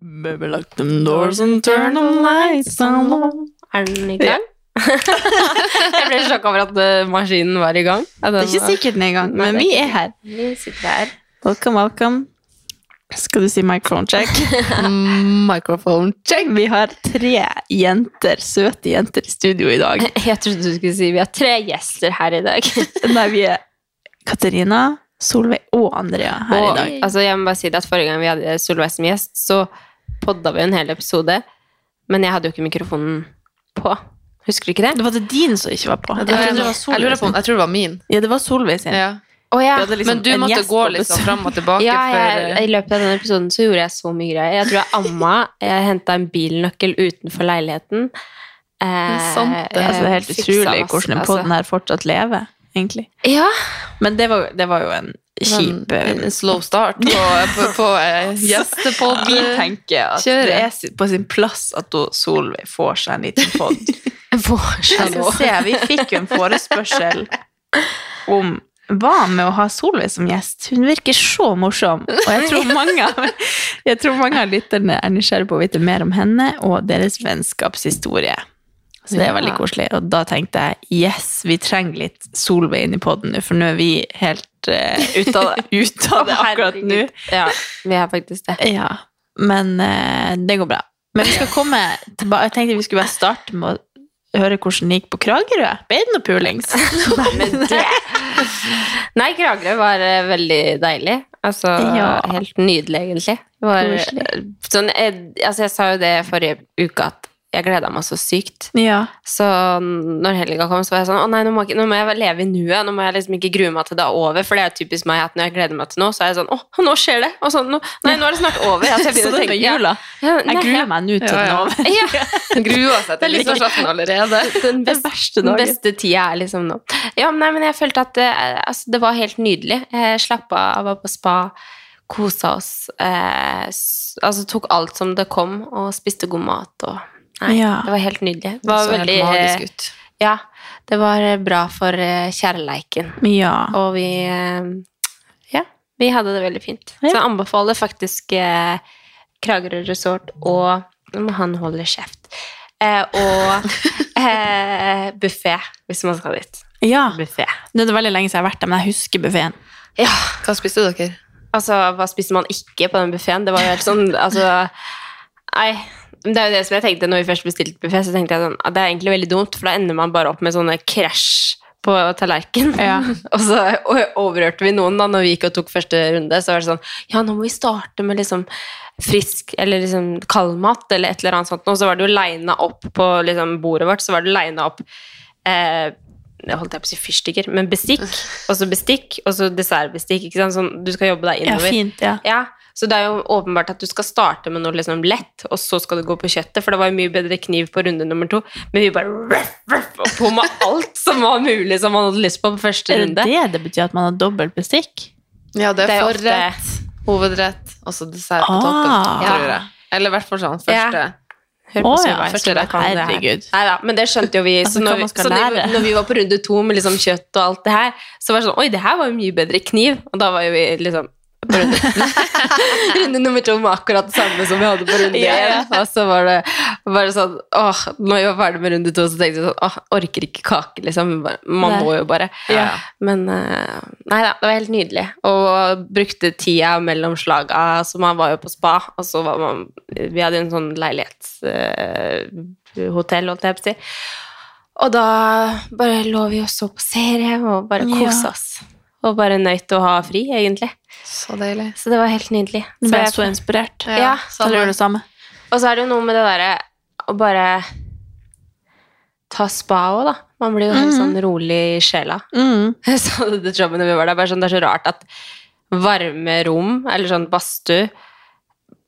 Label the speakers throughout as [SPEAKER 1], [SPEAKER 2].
[SPEAKER 1] baby, lock them doors and turn on lights on
[SPEAKER 2] Er den i gang? jeg ble sjokka over at eh, maskinen var i gang. At
[SPEAKER 1] Det
[SPEAKER 2] den
[SPEAKER 1] er ikke
[SPEAKER 2] var-
[SPEAKER 1] sikkert den er i gang,
[SPEAKER 2] Nei,
[SPEAKER 1] men
[SPEAKER 2] det er
[SPEAKER 1] vi
[SPEAKER 2] ikke
[SPEAKER 1] er her.
[SPEAKER 2] Vi sitter her.
[SPEAKER 1] Welcome, welcome. Skal du si microphone check?
[SPEAKER 3] Microphone check.
[SPEAKER 1] Vi har tre jenter, søte jenter i studio i dag.
[SPEAKER 2] Jeg trodde du skulle si vi har tre gjester her i dag.
[SPEAKER 1] Nei, vi er Katarina, Solveig og Andrea her i
[SPEAKER 2] Og,
[SPEAKER 1] dag.
[SPEAKER 2] altså, jeg må bare si det at Forrige gang vi hadde Solveig som gjest, så podda vi en hel episode. Men jeg hadde jo ikke mikrofonen på. Husker du ikke det?
[SPEAKER 1] Det var det din som ikke var på.
[SPEAKER 3] Jeg tror det var
[SPEAKER 1] Solveig
[SPEAKER 3] Jeg lurer på om jeg tror det var min.
[SPEAKER 1] sin. Ja, det var Solveig sin.
[SPEAKER 3] Ja.
[SPEAKER 2] Å, ja.
[SPEAKER 1] Vi hadde liksom
[SPEAKER 3] Men du
[SPEAKER 1] en
[SPEAKER 3] måtte
[SPEAKER 1] gjest
[SPEAKER 3] gå
[SPEAKER 1] på
[SPEAKER 3] liksom
[SPEAKER 1] besøk.
[SPEAKER 3] fram og tilbake
[SPEAKER 2] Ja,
[SPEAKER 3] for eh,
[SPEAKER 2] jeg, I løpet av denne episoden så gjorde jeg så mye greier. Jeg tror jeg amma. Jeg henta en bilnøkkel utenfor leiligheten. Eh,
[SPEAKER 3] er sant, det.
[SPEAKER 1] Altså, det er helt
[SPEAKER 2] jeg fiksa
[SPEAKER 1] utrolig
[SPEAKER 2] masse,
[SPEAKER 1] hvordan den
[SPEAKER 2] altså.
[SPEAKER 1] podden her fortsatt lever, egentlig.
[SPEAKER 2] Ja,
[SPEAKER 1] Men det var, det var jo en kjip eh,
[SPEAKER 2] Eh,
[SPEAKER 3] en, en slow start på, på, på eh, gjestepod.
[SPEAKER 1] Vi tenker at
[SPEAKER 3] Kjører.
[SPEAKER 1] det er si- på sin plass at hun Solveig får seg en liten podd. Jeg skal
[SPEAKER 2] forskjell.
[SPEAKER 1] se, vi fikk jo en forespørsel om hva med å ha Solveig som gjest? Hun virker så morsom, og jeg tror mange av, jeg tror mange av lytterne er nysgjerrige på å vite mer om henne og deres vennskapshistorie. Så det er veldig
[SPEAKER 2] Ja.
[SPEAKER 1] koselig, og da tenkte jeg yes, vi trenger litt Solveig inn i podden nå, for nå er vi helt eh, ute av det, ut av det akkurat nå.
[SPEAKER 2] Ja, vi er faktisk det.
[SPEAKER 1] Ja, men eh, det går bra. Men vi skal komme tilbake. Jeg tenkte vi skulle bare starte med å høre hvordan det gikk på Kragerø. Ble det noe pulings?
[SPEAKER 2] Nei, Kragerø var eh, veldig deilig. Altså
[SPEAKER 1] Ja.
[SPEAKER 2] helt nydelig, egentlig. Det Var,
[SPEAKER 1] Koselig.
[SPEAKER 2] eh, sånn, jeg, altså, jeg sa jo det forrige uke at jeg gleda meg så sykt.
[SPEAKER 1] Ja.
[SPEAKER 2] Så når helga kom, så var jeg sånn Å nei, nå må, ikke, nå må jeg vel leve i nuet. Nå må jeg liksom ikke grue meg til det er over. For det er jo typisk meg at når jeg gleder meg til noe, så er jeg sånn Å, nå skjer det! Og så, nå, nei, nå er det snart over. Altså, jeg begynner å tenke ja, ja, nei,
[SPEAKER 1] Jeg gruer meg nå til
[SPEAKER 3] Ja, ja.
[SPEAKER 1] nå.
[SPEAKER 2] Ja,
[SPEAKER 3] Grua seg til
[SPEAKER 2] Det er liksom-
[SPEAKER 3] nyttårsaften allerede.
[SPEAKER 2] den
[SPEAKER 1] Den
[SPEAKER 2] beste,
[SPEAKER 1] verste
[SPEAKER 2] den
[SPEAKER 1] dagen.
[SPEAKER 2] beste tida er liksom nå. Ja, men nei, men jeg følte at eh, altså, det var helt nydelig. Jeg slappa av, var på spa, kosa oss. Eh, s- altså tok alt som det kom, og spiste god mat og Nei,
[SPEAKER 1] Ja.
[SPEAKER 2] det var helt nydelig. Det var
[SPEAKER 3] Så helt
[SPEAKER 2] veldig eh,
[SPEAKER 3] magisk ut.
[SPEAKER 2] Ja, det var eh, bra for eh, kjærleiken.
[SPEAKER 1] Ja.
[SPEAKER 2] Og vi eh, Ja, vi hadde det veldig fint. Så jeg anbefaler faktisk eh, Kragerø Resort og Nå må han holde kjeft. Eh, og eh, buffé, hvis man skal dit.
[SPEAKER 1] ja.
[SPEAKER 2] Buffé.
[SPEAKER 1] Det er veldig lenge siden jeg har vært der, men jeg husker buffeen.
[SPEAKER 2] Ja,
[SPEAKER 3] Hva spiste dere?
[SPEAKER 2] altså, hva spiste man ikke på den buffeen? Det var jo helt sånn, altså Nei. men Det er jo det som jeg tenkte når vi først bestilte buffé, så tenkte jeg sånn at det er egentlig veldig dumt, for da ender man bare opp med sånne krasj på tallerkenen.
[SPEAKER 1] Ja.
[SPEAKER 2] og så o- overhørte vi noen da, når vi gikk og tok første runde, så var det sånn Ja, nå må vi starte med liksom frisk eller liksom kaldmat eller et eller annet sånt. Og så var det jo lina opp på liksom bordet vårt, så var det lina opp eh, jeg holdt jeg på å si fyrstikker, men bestikk, og så bestikk, og så dessertbestikk. ikke sant? Sånn, du skal jobbe deg
[SPEAKER 1] Ja,
[SPEAKER 2] innover.
[SPEAKER 1] fint, ja.
[SPEAKER 2] Ja, så det er jo åpenbart at du skal starte med noe liksom lett, og så skal du gå på kjøttet, for det var jo mye bedre kniv på runde nummer to. Men vi bare ruff, ruff, og på med alt som var mulig som man hadde lyst på på første
[SPEAKER 1] Er
[SPEAKER 2] runde.
[SPEAKER 1] det det det betyr at man har dobbelt bestikk?
[SPEAKER 3] Ja, det
[SPEAKER 2] Det
[SPEAKER 3] er
[SPEAKER 2] er ofte-
[SPEAKER 3] forrett, hovedrett og så dessert på
[SPEAKER 1] Ah.
[SPEAKER 3] toppen, tror
[SPEAKER 2] Ja.
[SPEAKER 3] jeg. Eller i hvert fall sånn første.
[SPEAKER 2] Hør på
[SPEAKER 1] Å,
[SPEAKER 2] Solveig,
[SPEAKER 1] ja.
[SPEAKER 2] Solveig
[SPEAKER 1] Første
[SPEAKER 2] kan det her.
[SPEAKER 1] herregud.
[SPEAKER 2] Neida, men det skjønte jo vi.
[SPEAKER 1] Altså,
[SPEAKER 2] så
[SPEAKER 1] hva
[SPEAKER 2] når vi,
[SPEAKER 1] man skal
[SPEAKER 2] så når, vi
[SPEAKER 1] lære.
[SPEAKER 2] når vi var på runde to med liksom kjøtt og alt det her, så var det sånn Oi, det her var jo mye bedre kniv. Og da var jo vi liksom på runde, runde nummer to med akkurat det samme som vi hadde på runde én.
[SPEAKER 1] Ja, ja.
[SPEAKER 2] Og så var det bare sånn Åh, når vi var ferdig med runde to, så tenkte vi sånn Åh, orker ikke kake, liksom. Vi bare, Man
[SPEAKER 1] Nei.
[SPEAKER 2] må jo bare.
[SPEAKER 3] Ja.
[SPEAKER 2] Men eh, nei da, det var helt nydelig. Og brukte tida mellom slaga, så man var jo på spa. Og så var man Vi hadde en sånn leilighetshotell, holdt jeg på å si. Og da bare lå vi og så på serie og bare
[SPEAKER 1] Ja.
[SPEAKER 2] kosa oss. Og bare nøyt å ha fri, egentlig.
[SPEAKER 3] Så deilig. sånn.
[SPEAKER 2] Så det var helt nydelig.
[SPEAKER 1] Nå ble
[SPEAKER 2] Så jeg-
[SPEAKER 1] jeg så inspirert.
[SPEAKER 2] Ja,
[SPEAKER 1] Så gjør det samme.
[SPEAKER 2] og så er det jo noe med det derre å bare ta spa òg, da. Man blir jo helt
[SPEAKER 1] Mhm.
[SPEAKER 2] sånn rolig i sjela.
[SPEAKER 1] Mm.
[SPEAKER 2] Jeg sa det til Trump når vi var der, bare sånn, det er så rart at varme rom, eller sånn badstue,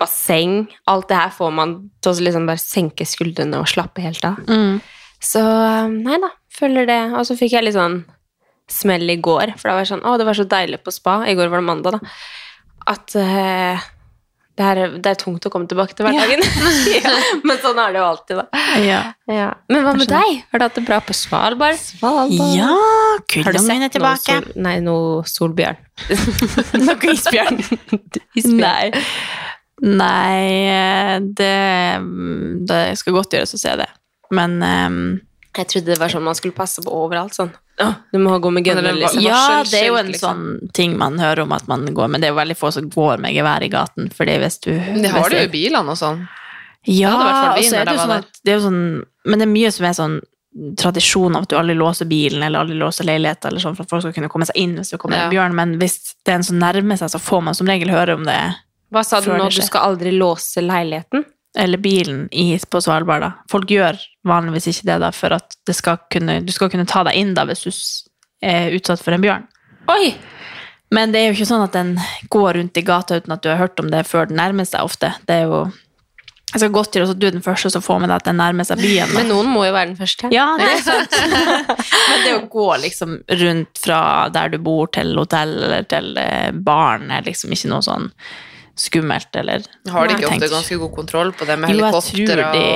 [SPEAKER 2] basseng, alt det her får man til å liksom bare senke skuldrene og slappe helt av.
[SPEAKER 1] Mm.
[SPEAKER 2] Så eh, nei da, følger det. Og så fikk jeg litt sånn smell i går, for da var jeg sånn, å det var så deilig på spa, i går var det mandag da, at eh, det, er, det er tungt å komme tilbake til hverdagen. Ja. Men sånn er det jo alltid da.
[SPEAKER 1] Ja.
[SPEAKER 2] Men hva med deg? Har du hatt det bra på Svalbard? Svalbard.
[SPEAKER 1] ja,
[SPEAKER 2] Har du
[SPEAKER 1] kullene
[SPEAKER 2] sett
[SPEAKER 1] mine
[SPEAKER 2] noe
[SPEAKER 1] er tilbake.
[SPEAKER 2] Sol, nei, noe solbjørn. noe isbjørn.
[SPEAKER 1] Nei. Nei, det, det skal godt gjøres å se det. Men ehm,
[SPEAKER 2] Jeg trodde det var sånn man skulle passe på overalt. sånn. «Å, Du må gå med
[SPEAKER 3] Men det
[SPEAKER 2] gunner,
[SPEAKER 3] var-
[SPEAKER 2] liksom.
[SPEAKER 1] ja,
[SPEAKER 3] varselskilt,
[SPEAKER 1] det er jo en
[SPEAKER 3] liksom.
[SPEAKER 1] sånn ting man hører om at man går, men det er jo veldig få som går med gevær i gaten. fordi hvis du...
[SPEAKER 3] Men De har det jo i bilene og sånn.
[SPEAKER 1] Ja,
[SPEAKER 3] hadde vært forbi
[SPEAKER 1] og så er
[SPEAKER 3] når
[SPEAKER 1] det jo
[SPEAKER 3] jeg var
[SPEAKER 1] sånn
[SPEAKER 3] der.
[SPEAKER 1] at det er jo sånn Men det er mye som er sånn tradisjon av at du aldri låser bilen eller aldri låser leiligheten eller sånn for at folk skal kunne komme seg inn hvis det kommer
[SPEAKER 3] Ja.
[SPEAKER 1] en bjørn, men hvis det er en som nærmer seg, så får man som regel høre om det.
[SPEAKER 2] Hva sa du
[SPEAKER 1] Før
[SPEAKER 2] nå?
[SPEAKER 1] det
[SPEAKER 2] Du
[SPEAKER 1] skjer.
[SPEAKER 2] skal aldri låse leiligheten?
[SPEAKER 1] Eller bilen i, på Svalbard, da. Folk gjør vanligvis ikke det, da, for at det skal kunne, du skal kunne ta deg inn da hvis du s- er utsatt for en bjørn.
[SPEAKER 2] Oi!
[SPEAKER 1] Men det er jo ikke sånn at den går rundt i gata uten at du har hørt om det før den nærmer seg ofte. Det er jo Jeg skal godt gjøre at du er den første som får med deg at den nærmer seg byen. Da.
[SPEAKER 2] Men noen må jo være den første.
[SPEAKER 1] Ja, det er sant. Men det å gå liksom rundt fra der du bor til hotell eller til eh, baren er liksom ikke noe sånn skummelt eller
[SPEAKER 3] Har de ikke
[SPEAKER 1] Nei,
[SPEAKER 3] ofte
[SPEAKER 1] tenk.
[SPEAKER 3] ganske god kontroll på det med
[SPEAKER 1] Jo, jeg
[SPEAKER 3] helikopter
[SPEAKER 1] tror
[SPEAKER 3] og
[SPEAKER 1] de-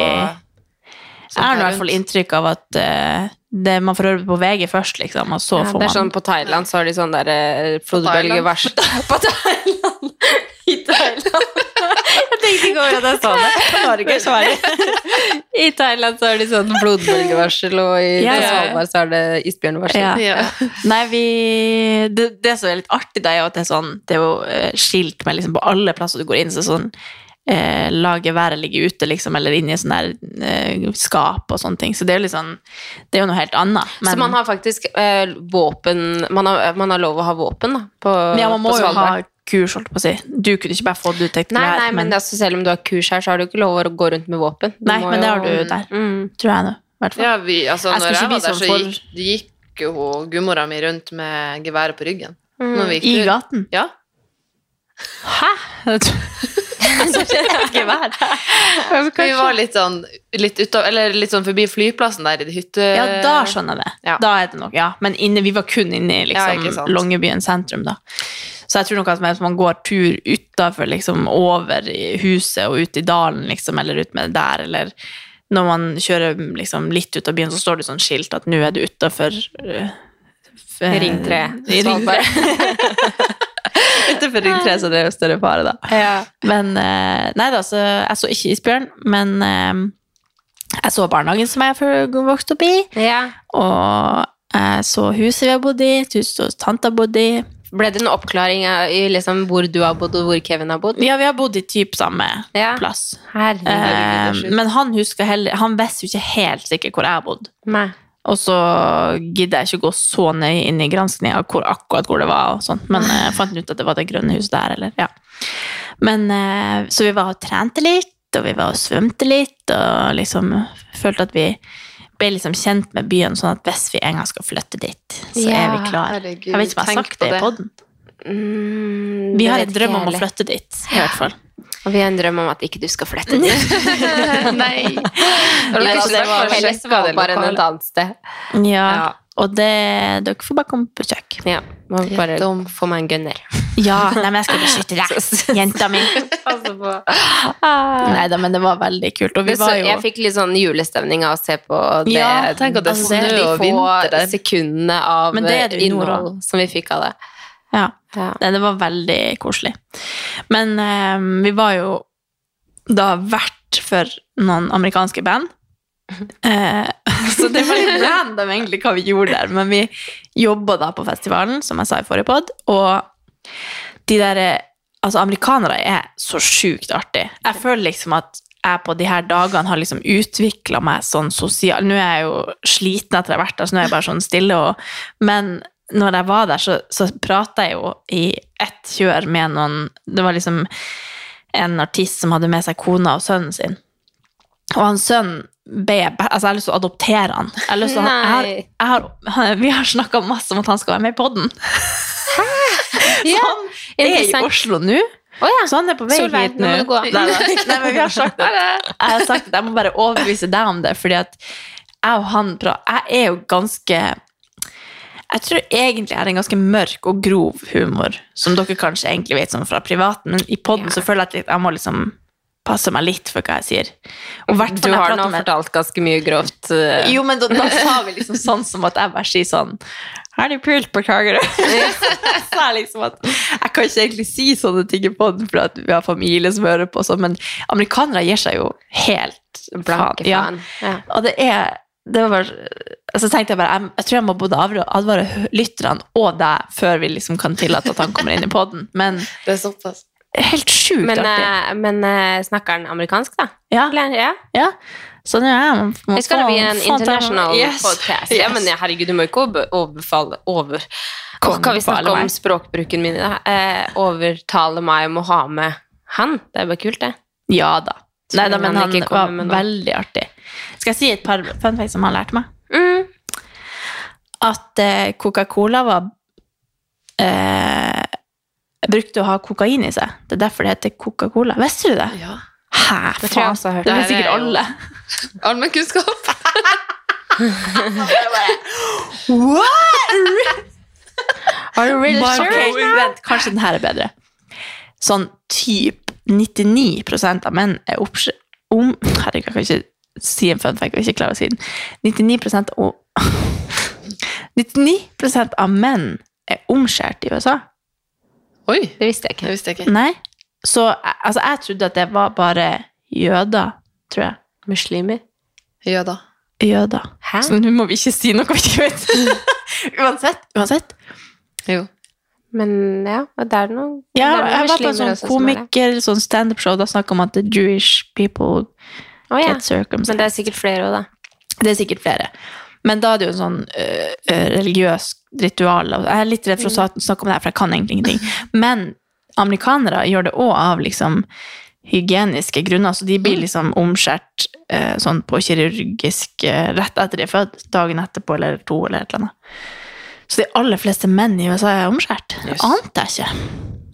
[SPEAKER 1] Jeg
[SPEAKER 3] sånt
[SPEAKER 1] har nå i
[SPEAKER 3] her
[SPEAKER 1] hvert fall
[SPEAKER 3] rundt?
[SPEAKER 1] inntrykk av at eh, det, man får høre det på VG først, liksom, og så
[SPEAKER 2] Ja,
[SPEAKER 1] får
[SPEAKER 2] det er
[SPEAKER 1] man
[SPEAKER 2] sånn På Thailand så har de sånn der eh, flodbølgevarsel På Thailand! I Thailand. Jeg tenkte ikke over at jeg sa det.
[SPEAKER 1] På Norge, Sverige.
[SPEAKER 2] I Thailand så har de sånn flodbølgevarsel, og i
[SPEAKER 1] Ja,
[SPEAKER 2] på
[SPEAKER 3] ja, ja.
[SPEAKER 2] Svalbard så er det isbjørnvarsel.
[SPEAKER 1] Ja.
[SPEAKER 3] Ja.
[SPEAKER 1] Nei, vi det, det som er litt artig, det er jo at det er sånn Det er jo eh, skilt med liksom på alle plasser du går inn, så sånn eh, La geværet ligge ute, liksom, eller inni sånne der eh, skap og sånne ting. Så det er jo litt sånn Det er jo noe helt annet.
[SPEAKER 2] Så man har faktisk eh, våpen man har, man har lov å ha våpen da, på,
[SPEAKER 1] Men ja, man må
[SPEAKER 2] på
[SPEAKER 1] jo ha
[SPEAKER 2] Svalbard.
[SPEAKER 1] kurs, holdt på å si. Du kunne ikke bare få det uttekt
[SPEAKER 2] Nei,
[SPEAKER 1] gevær,
[SPEAKER 2] nei, men, altså, selv om du har kurs her, så har du ikke lov å gå rundt med våpen. Du
[SPEAKER 1] Nei,
[SPEAKER 2] må
[SPEAKER 1] men det
[SPEAKER 2] jo-
[SPEAKER 1] har du der,
[SPEAKER 2] Mm.
[SPEAKER 1] tror jeg nå. i hvert fall.
[SPEAKER 3] Ja, vi, altså,
[SPEAKER 1] Jeg skal
[SPEAKER 3] når
[SPEAKER 1] ikke
[SPEAKER 3] jeg
[SPEAKER 1] bli
[SPEAKER 3] var der,
[SPEAKER 1] sånn
[SPEAKER 3] så
[SPEAKER 1] for-
[SPEAKER 3] gikk, gikk jo gudmora mi rundt med geværet på ryggen.
[SPEAKER 2] Mm.
[SPEAKER 3] Når vi gikk
[SPEAKER 1] I
[SPEAKER 3] tur.
[SPEAKER 1] gaten.
[SPEAKER 3] Ja.
[SPEAKER 1] Hæ?! Gevær?
[SPEAKER 3] Vi var litt sånn, litt, utav, eller litt sånn forbi flyplassen der i det hytte...
[SPEAKER 1] Ja, da skjønner jeg det.
[SPEAKER 3] Eh, Ja.
[SPEAKER 1] Da er det nok, ja. Men inne, vi var kun inne i liksom,
[SPEAKER 3] Ja, ikke sant.
[SPEAKER 1] Longyearbyen sentrum, da. Så jeg tror nok at hvis man går tur utafor, liksom over i huset og ut i dalen, liksom, eller ut med det der, eller når man kjører liksom, litt ut av byen, så står det sånn skilt at nå er du eh, utafor
[SPEAKER 2] Ring 3.
[SPEAKER 1] Eh, Ring 3. Utenfor Ring 3, så det er jo større fare, da.
[SPEAKER 2] Ja.
[SPEAKER 1] Men eh, Nei da, så jeg så ikke isbjørn, men eh, jeg så barnehagen som jeg før- vokste opp i. Og jeg så huset vi har bodd i, et hus hos tante har bodd i.
[SPEAKER 2] Ble det en oppklaring av- i liksom, hvor du har bodd, og hvor Kevin har bodd?
[SPEAKER 1] Ja, vi har bodd i typ samme
[SPEAKER 2] Ja.
[SPEAKER 1] plass.
[SPEAKER 2] Herregud.
[SPEAKER 1] Eh,
[SPEAKER 3] sjukt.
[SPEAKER 1] men han husker heller Han visste jo ikke helt sikkert hvor jeg har bodd.
[SPEAKER 2] Nei.
[SPEAKER 1] Og så gidder jeg ikke gå så nøye inn i granskninga hvor, akkurat hvor det var. og sånt, Men jeg fant ut at det var det grønne huset der. Eller, ja. men, eh, så vi var og trente litt, og vi var og svømte litt, og liksom følte at vi ble liksom kjent med byen, sånn at hvis vi en gang skal flytte dit, så er
[SPEAKER 2] Ja,
[SPEAKER 1] vi klare.
[SPEAKER 3] Herregud,
[SPEAKER 1] Jeg vet ikke om jeg har
[SPEAKER 3] tenk
[SPEAKER 1] sagt
[SPEAKER 3] på
[SPEAKER 1] det i podden.
[SPEAKER 2] Mm,
[SPEAKER 1] Vi
[SPEAKER 2] det
[SPEAKER 1] har
[SPEAKER 2] vet
[SPEAKER 1] en
[SPEAKER 2] ikke
[SPEAKER 1] drøm
[SPEAKER 2] jeg
[SPEAKER 1] om å
[SPEAKER 2] heller.
[SPEAKER 1] flytte dit, i hvert fall.
[SPEAKER 2] Og vi har en drøm om at ikke du skal flytte dit.
[SPEAKER 3] Nei.
[SPEAKER 2] Nei,
[SPEAKER 3] Nei,
[SPEAKER 2] altså,
[SPEAKER 3] det var
[SPEAKER 2] heller Svalbard enn et annet sted.
[SPEAKER 1] Ja, Og det, dere får bare komme på besøk.
[SPEAKER 2] Ja, må bare
[SPEAKER 3] Gjett om.
[SPEAKER 2] få meg en gunner.
[SPEAKER 1] Ja, nei, men jeg skal beskytte deg, jenta mi. Nei da, men det var veldig kult. Og vi
[SPEAKER 2] Det Ah. så,
[SPEAKER 1] var jo
[SPEAKER 2] jeg fikk litt sånn julestemning av å se på det.
[SPEAKER 1] Ja, tenk at det
[SPEAKER 2] altså,
[SPEAKER 1] snø
[SPEAKER 2] de
[SPEAKER 3] og
[SPEAKER 2] få
[SPEAKER 3] vinter der.
[SPEAKER 2] sekundene av
[SPEAKER 1] Men det er det jo i nord
[SPEAKER 2] innhold som vi fikk av det.
[SPEAKER 1] ja.
[SPEAKER 2] Ja.
[SPEAKER 1] Nei, det var veldig koselig. Men eh, vi var jo da vert for noen amerikanske band. Eh, så det var litt random egentlig hva vi gjorde der, men vi jobba da på festivalen, som jeg sa i forrige pod, og de der eh, Altså, amerikanere er så sjukt artig. Jeg føler liksom at jeg på de her dagene har liksom utvikla meg sånn sosial Nå er jeg jo sliten etter at jeg har vært der, så nå er jeg bare sånn stille og Men når jeg var der, så, så prata jeg jo i ett kjør med noen Det var liksom en artist som hadde med seg kona og sønnen sin. Og han sønnen ble Altså, jeg har lyst til å adoptere han. Jeg har lyst til å, jeg har,
[SPEAKER 2] Nei.
[SPEAKER 1] jeg har, vi har snakka masse om at han skal være med i poden.
[SPEAKER 2] Ja,
[SPEAKER 1] Jeg er i
[SPEAKER 2] interessant.
[SPEAKER 1] Oslo nå,
[SPEAKER 2] Å ja.
[SPEAKER 1] så han er på vei
[SPEAKER 2] Solveig,
[SPEAKER 1] hit
[SPEAKER 2] nå
[SPEAKER 1] nå.
[SPEAKER 2] må du gå.
[SPEAKER 1] Nei, nei. Nei, men vi har sagt at, jeg har sagt at jeg må bare overbevise deg om det, fordi at jeg og han pra- Jeg er jo ganske jeg tror egentlig jeg har en ganske mørk og grov humor, som dere kanskje egentlig vet sånn fra privaten, men i podden
[SPEAKER 2] Ja.
[SPEAKER 1] så føler jeg at jeg må liksom passe meg litt for hva jeg sier. Og hvert fall
[SPEAKER 2] Du
[SPEAKER 1] når jeg
[SPEAKER 2] har
[SPEAKER 1] prater
[SPEAKER 2] nå
[SPEAKER 1] med-
[SPEAKER 2] fortalt ganske mye grovt. eh,
[SPEAKER 1] jo, men da, da sa vi liksom sånn som at jeg bare sier sånn Har de pult? Beklager det. Så sa jeg liksom at jeg kan ikke egentlig si sånne ting i podden, for at vi har familie som hører på og sånn, men amerikanere gir seg jo helt
[SPEAKER 2] Blanke
[SPEAKER 1] Ja.
[SPEAKER 2] faen. Ja.
[SPEAKER 1] Og det er det var bare, altså tenkte jeg bare, jeg, jeg tror jeg må både avra- advare hø- lytterne og deg før vi liksom kan tillate at han kommer inn i podden. Men
[SPEAKER 3] Det er såpass.
[SPEAKER 1] helt sjukt
[SPEAKER 2] Men,
[SPEAKER 1] artig.
[SPEAKER 2] eh, men eh, snakker han amerikansk, da?
[SPEAKER 1] Ja,
[SPEAKER 2] Eller, ja.
[SPEAKER 1] ja. Så nå er jeg må
[SPEAKER 2] Det skal
[SPEAKER 1] få-
[SPEAKER 2] bli en
[SPEAKER 1] få til-
[SPEAKER 2] international
[SPEAKER 1] Yes,
[SPEAKER 2] podcast. Ja,
[SPEAKER 1] yes.
[SPEAKER 2] men herregud, du må ikke obe- overfalle over Hva kan vi snakke
[SPEAKER 1] Overfale meg.
[SPEAKER 2] om språkbruken min i dag? Eh, overtale meg om å ha med han. Det er bare kult, det.
[SPEAKER 1] Ja da.
[SPEAKER 2] Så
[SPEAKER 1] Nei da,
[SPEAKER 2] vil
[SPEAKER 1] men
[SPEAKER 2] han
[SPEAKER 1] han
[SPEAKER 2] ikke
[SPEAKER 1] var
[SPEAKER 2] komme med noe.
[SPEAKER 1] veldig artig. Skal jeg si et par fun facts som han lærte meg?
[SPEAKER 2] Mm.
[SPEAKER 1] At eh, Coca-Cola var eh, Brukte å ha kokain i seg. Det er derfor det heter Coca-Cola. Visste du det?
[SPEAKER 3] Ja.
[SPEAKER 1] Hæ,
[SPEAKER 2] Det tror jeg også jeg har hørt.
[SPEAKER 1] Det vet
[SPEAKER 3] Det her er
[SPEAKER 1] sikkert
[SPEAKER 3] jo-
[SPEAKER 1] alle.
[SPEAKER 3] Allmennkunnskap.
[SPEAKER 1] What?
[SPEAKER 2] Are you really
[SPEAKER 1] Bare,
[SPEAKER 2] sure?
[SPEAKER 1] ok, vent, kanskje den her er bedre. Sånn typ 99 av menn er oppskj... Om, herregud, jeg kan ikke si en fun fact, jeg ikke klarer å si den. 99 av, 99 av menn er omskjært i USA.
[SPEAKER 3] Oi,
[SPEAKER 2] Det visste jeg
[SPEAKER 3] det
[SPEAKER 2] ikke.
[SPEAKER 3] visste jeg ikke.
[SPEAKER 1] Nei. Så altså, jeg trodde at det var bare jøder, tror jeg.
[SPEAKER 2] Muslimer.
[SPEAKER 3] Ja da.
[SPEAKER 1] Jøder.
[SPEAKER 2] Hæ?
[SPEAKER 1] Så nå må vi ikke si noe vi ikke vet. uansett, uansett.
[SPEAKER 3] Jo.
[SPEAKER 2] Men ja, det er noen
[SPEAKER 1] Ja,
[SPEAKER 2] det er noen
[SPEAKER 1] jeg var på en
[SPEAKER 2] muslimer
[SPEAKER 1] sånn
[SPEAKER 2] også som er det.
[SPEAKER 1] komiker, sånn stand-up-show, da snakket om at the Jewish people
[SPEAKER 2] Å, ja.
[SPEAKER 1] get circumcised.
[SPEAKER 2] Men det er sikkert flere òg, da.
[SPEAKER 1] Det er sikkert flere. Men da er det jo en sånn øh, øh, religiøs ritual. og Jeg er litt redd for å sa-
[SPEAKER 2] Mm.
[SPEAKER 1] snakke om det her, for jeg kan egentlig ingenting. Men amerikanere gjør det òg av liksom hygieniske grunner, så de
[SPEAKER 2] Mm.
[SPEAKER 1] blir liksom omskjært øh, sånn på kirurgisk øh, rett etter de er født, dagen etterpå eller to eller et eller annet. Så de aller fleste menn i USA er omskjært. Det
[SPEAKER 3] Yes.
[SPEAKER 1] ante jeg ikke.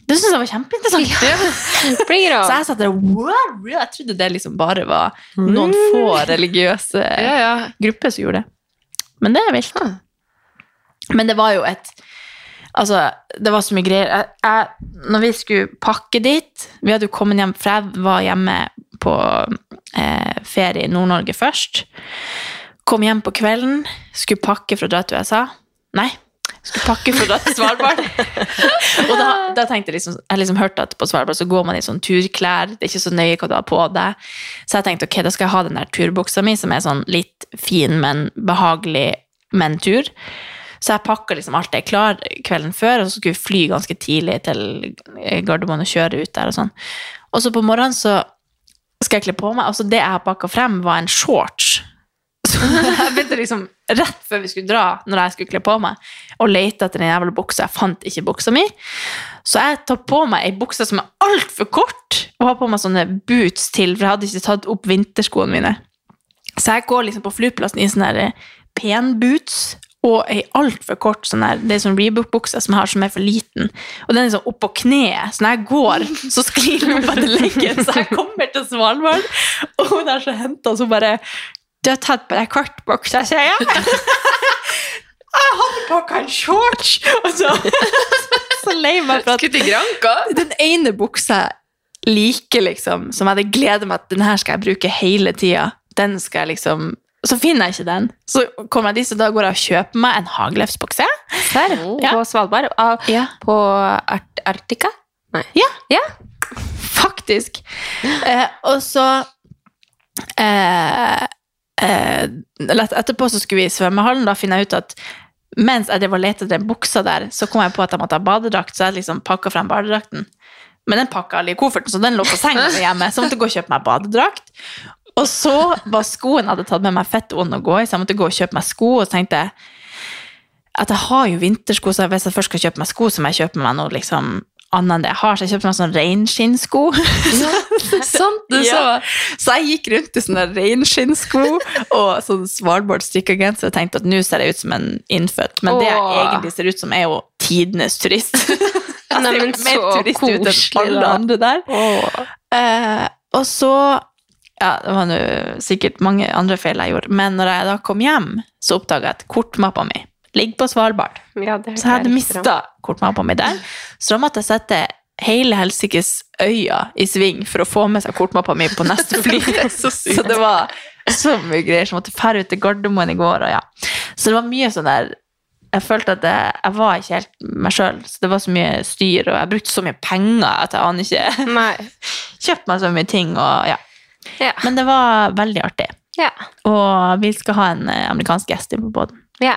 [SPEAKER 1] Det syns jeg var kjempeinteressant.
[SPEAKER 2] Bring it
[SPEAKER 1] Så
[SPEAKER 2] on.
[SPEAKER 1] jeg satt der wow! Jeg trodde det liksom bare var noen få religiøse
[SPEAKER 3] Mm. Ja, ja.
[SPEAKER 1] gruppe som gjorde det. Men det er vilt.
[SPEAKER 3] Ah.
[SPEAKER 1] Men det var jo et Altså, det var så mye greier. Jeg, jeg, når vi skulle pakke dit Vi hadde jo kommet hjem, for jeg var hjemme på eh, ferie i Nord-Norge først. Kom hjem på kvelden, skulle pakke for å dra til USA. Nei, skulle pakke for å dra til Svalbard. Og da, da tenkte jeg liksom, jeg liksom hørte at på Svalbard så går man i sånn turklær, det er ikke så nøye hva du har på deg. Så jeg tenkte, ok, da skal jeg ha den der turbuksa mi, som er sånn litt fin, men behagelig, men tur. Så jeg pakket liksom alt det jeg klar kvelden før, og så skulle vi fly ganske tidlig til Gardermoen og kjøre ut der og sånn. Og så på morgenen så skal jeg kle på meg, og så det jeg har pakket frem var en shorts. Så jeg begynte liksom rett før vi skulle dra, når jeg skulle kle på meg, og lete etter den jævla buksa. Jeg fant ikke buksa mi. Så jeg tar på meg ei bukse som er altfor kort, og har på meg sånne boots til, for jeg hadde ikke tatt opp vinterskoene mine. Så jeg går liksom på flyplassen i sånne der penboots og ei altfor kort sånn her, det er sånn Reebok-bukse som jeg har som er for liten. Og den er sånn oppå kneet, så når jeg går, så sklir den opp etter leggen. Så jeg kommer til Svalbard, og hun der som henta, så bare Du har tatt på deg kortbuksa, sier jeg. Jeg hadde pakka en shorts! Og så, så lei meg for at
[SPEAKER 3] Skutt i granka.
[SPEAKER 1] den ene buksa jeg liker, liksom, som jeg hadde gledet meg at den her skal jeg bruke hele tida, den skal jeg liksom Så finner jeg ikke den. Så kommer jeg dit, så da går jeg og kjøper meg en haglefsbukse.
[SPEAKER 2] Der,
[SPEAKER 1] Ja.
[SPEAKER 2] Oh, på Svalbard. av-
[SPEAKER 1] Ja.
[SPEAKER 2] På Art Arktika.
[SPEAKER 1] Faktisk. Eh, og så eh, eh, lett Etterpå så skulle vi i svømmehallen. Da finner jeg ut at mens jeg drev og lette etter den buksa der, så kom jeg på at jeg måtte ha badedrakt, så jeg liksom pakka frem badedrakten. Men den pakka alle i kofferten, så den lå på senga mi hjemme. Så jeg måtte gå og kjøpe meg badedrakt. Og så var skoen jeg hadde tatt med meg fett vond å gå i, så jeg måtte gå og kjøpe meg sko. Og så tenkte jeg at jeg har jo vintersko, så hvis jeg først skal kjøpe meg sko, så må jeg kjøpe meg noe liksom annet enn det jeg har. Så jeg kjøpte meg sånn reinskinnsko.
[SPEAKER 3] Sant, du sa.
[SPEAKER 1] Ja. Så jeg gikk rundt i sånne reinskinnssko og sånn Svalbard strikkegenser og tenkte at nå ser jeg ut som en innfødt. Men det jeg
[SPEAKER 2] Åh.
[SPEAKER 1] egentlig ser ut som, er jo tidenes turist. Jeg
[SPEAKER 2] Nei,
[SPEAKER 1] ser jo
[SPEAKER 2] men
[SPEAKER 1] mer
[SPEAKER 2] så
[SPEAKER 1] turist ut enn
[SPEAKER 2] koselig,
[SPEAKER 1] alle
[SPEAKER 2] da.
[SPEAKER 1] andre der. Eh, og så ja, Det var nå sikkert mange andre feil jeg gjorde, men når jeg da kom hjem, så oppdaga jeg at kortmappa mi ligger på Svalbard.
[SPEAKER 2] Ja, det hørte
[SPEAKER 1] Så jeg hadde
[SPEAKER 2] rykter om.
[SPEAKER 1] mista kortmappa mi der. Så da måtte jeg sette hele helsikes øya i sving for å få med seg kortmappa mi på neste fly. så, det var så mye greier som måtte fære ut til Gardermoen i går. Og ja. Så det var mye sånn der Jeg følte at jeg, jeg var ikke helt meg sjøl. Det var så mye styr, og jeg brukte så mye penger at jeg aner ikke.
[SPEAKER 2] Nei.
[SPEAKER 1] Kjøpte meg så mye ting, og ja.
[SPEAKER 2] Ja.
[SPEAKER 1] Men det var veldig artig.
[SPEAKER 2] ja.
[SPEAKER 1] Og vi skal ha en eh, amerikansk gjest inn på båten.
[SPEAKER 2] ja.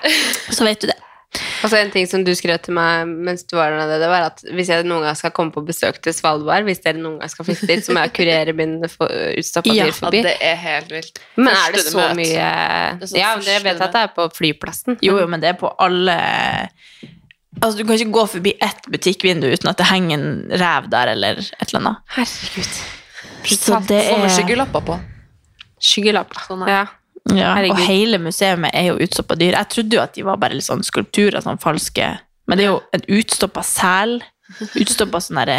[SPEAKER 1] Så vet du det.
[SPEAKER 2] Og så Altså, en ting som du skrev til meg mens du var der nede, det var at hvis jeg noen gang skal komme på besøk til Svalbard, hvis dere noen gang skal flytte dit, så må jeg kurere min for- utstappa
[SPEAKER 1] Ja,
[SPEAKER 2] dyr
[SPEAKER 3] Ja,
[SPEAKER 2] forbi.
[SPEAKER 3] det er helt vilt.
[SPEAKER 2] Men
[SPEAKER 3] Første
[SPEAKER 2] er det
[SPEAKER 3] du
[SPEAKER 2] så
[SPEAKER 3] møter.
[SPEAKER 2] mye
[SPEAKER 3] Det er sånn
[SPEAKER 2] Ja, men dere
[SPEAKER 3] første
[SPEAKER 2] vet
[SPEAKER 3] du
[SPEAKER 2] at det er på flyplassen.
[SPEAKER 1] Jo, jo, men det er på alle Altså, du kan ikke gå forbi ett butikkvindu uten at det henger en rev der, eller et eller annet.
[SPEAKER 2] Herregud.
[SPEAKER 1] Så det
[SPEAKER 3] Får man
[SPEAKER 1] er
[SPEAKER 3] skyggelapper på?
[SPEAKER 2] Skyggelapper.
[SPEAKER 3] Sånn er
[SPEAKER 2] ja.
[SPEAKER 1] ja, Og
[SPEAKER 2] Herregud.
[SPEAKER 1] hele museet er jo utstoppa dyr. Jeg trodde jo at de var bare litt sånn skulpturer, sånn falske Men det er jo en utstoppa sel. Utstoppa sånn derre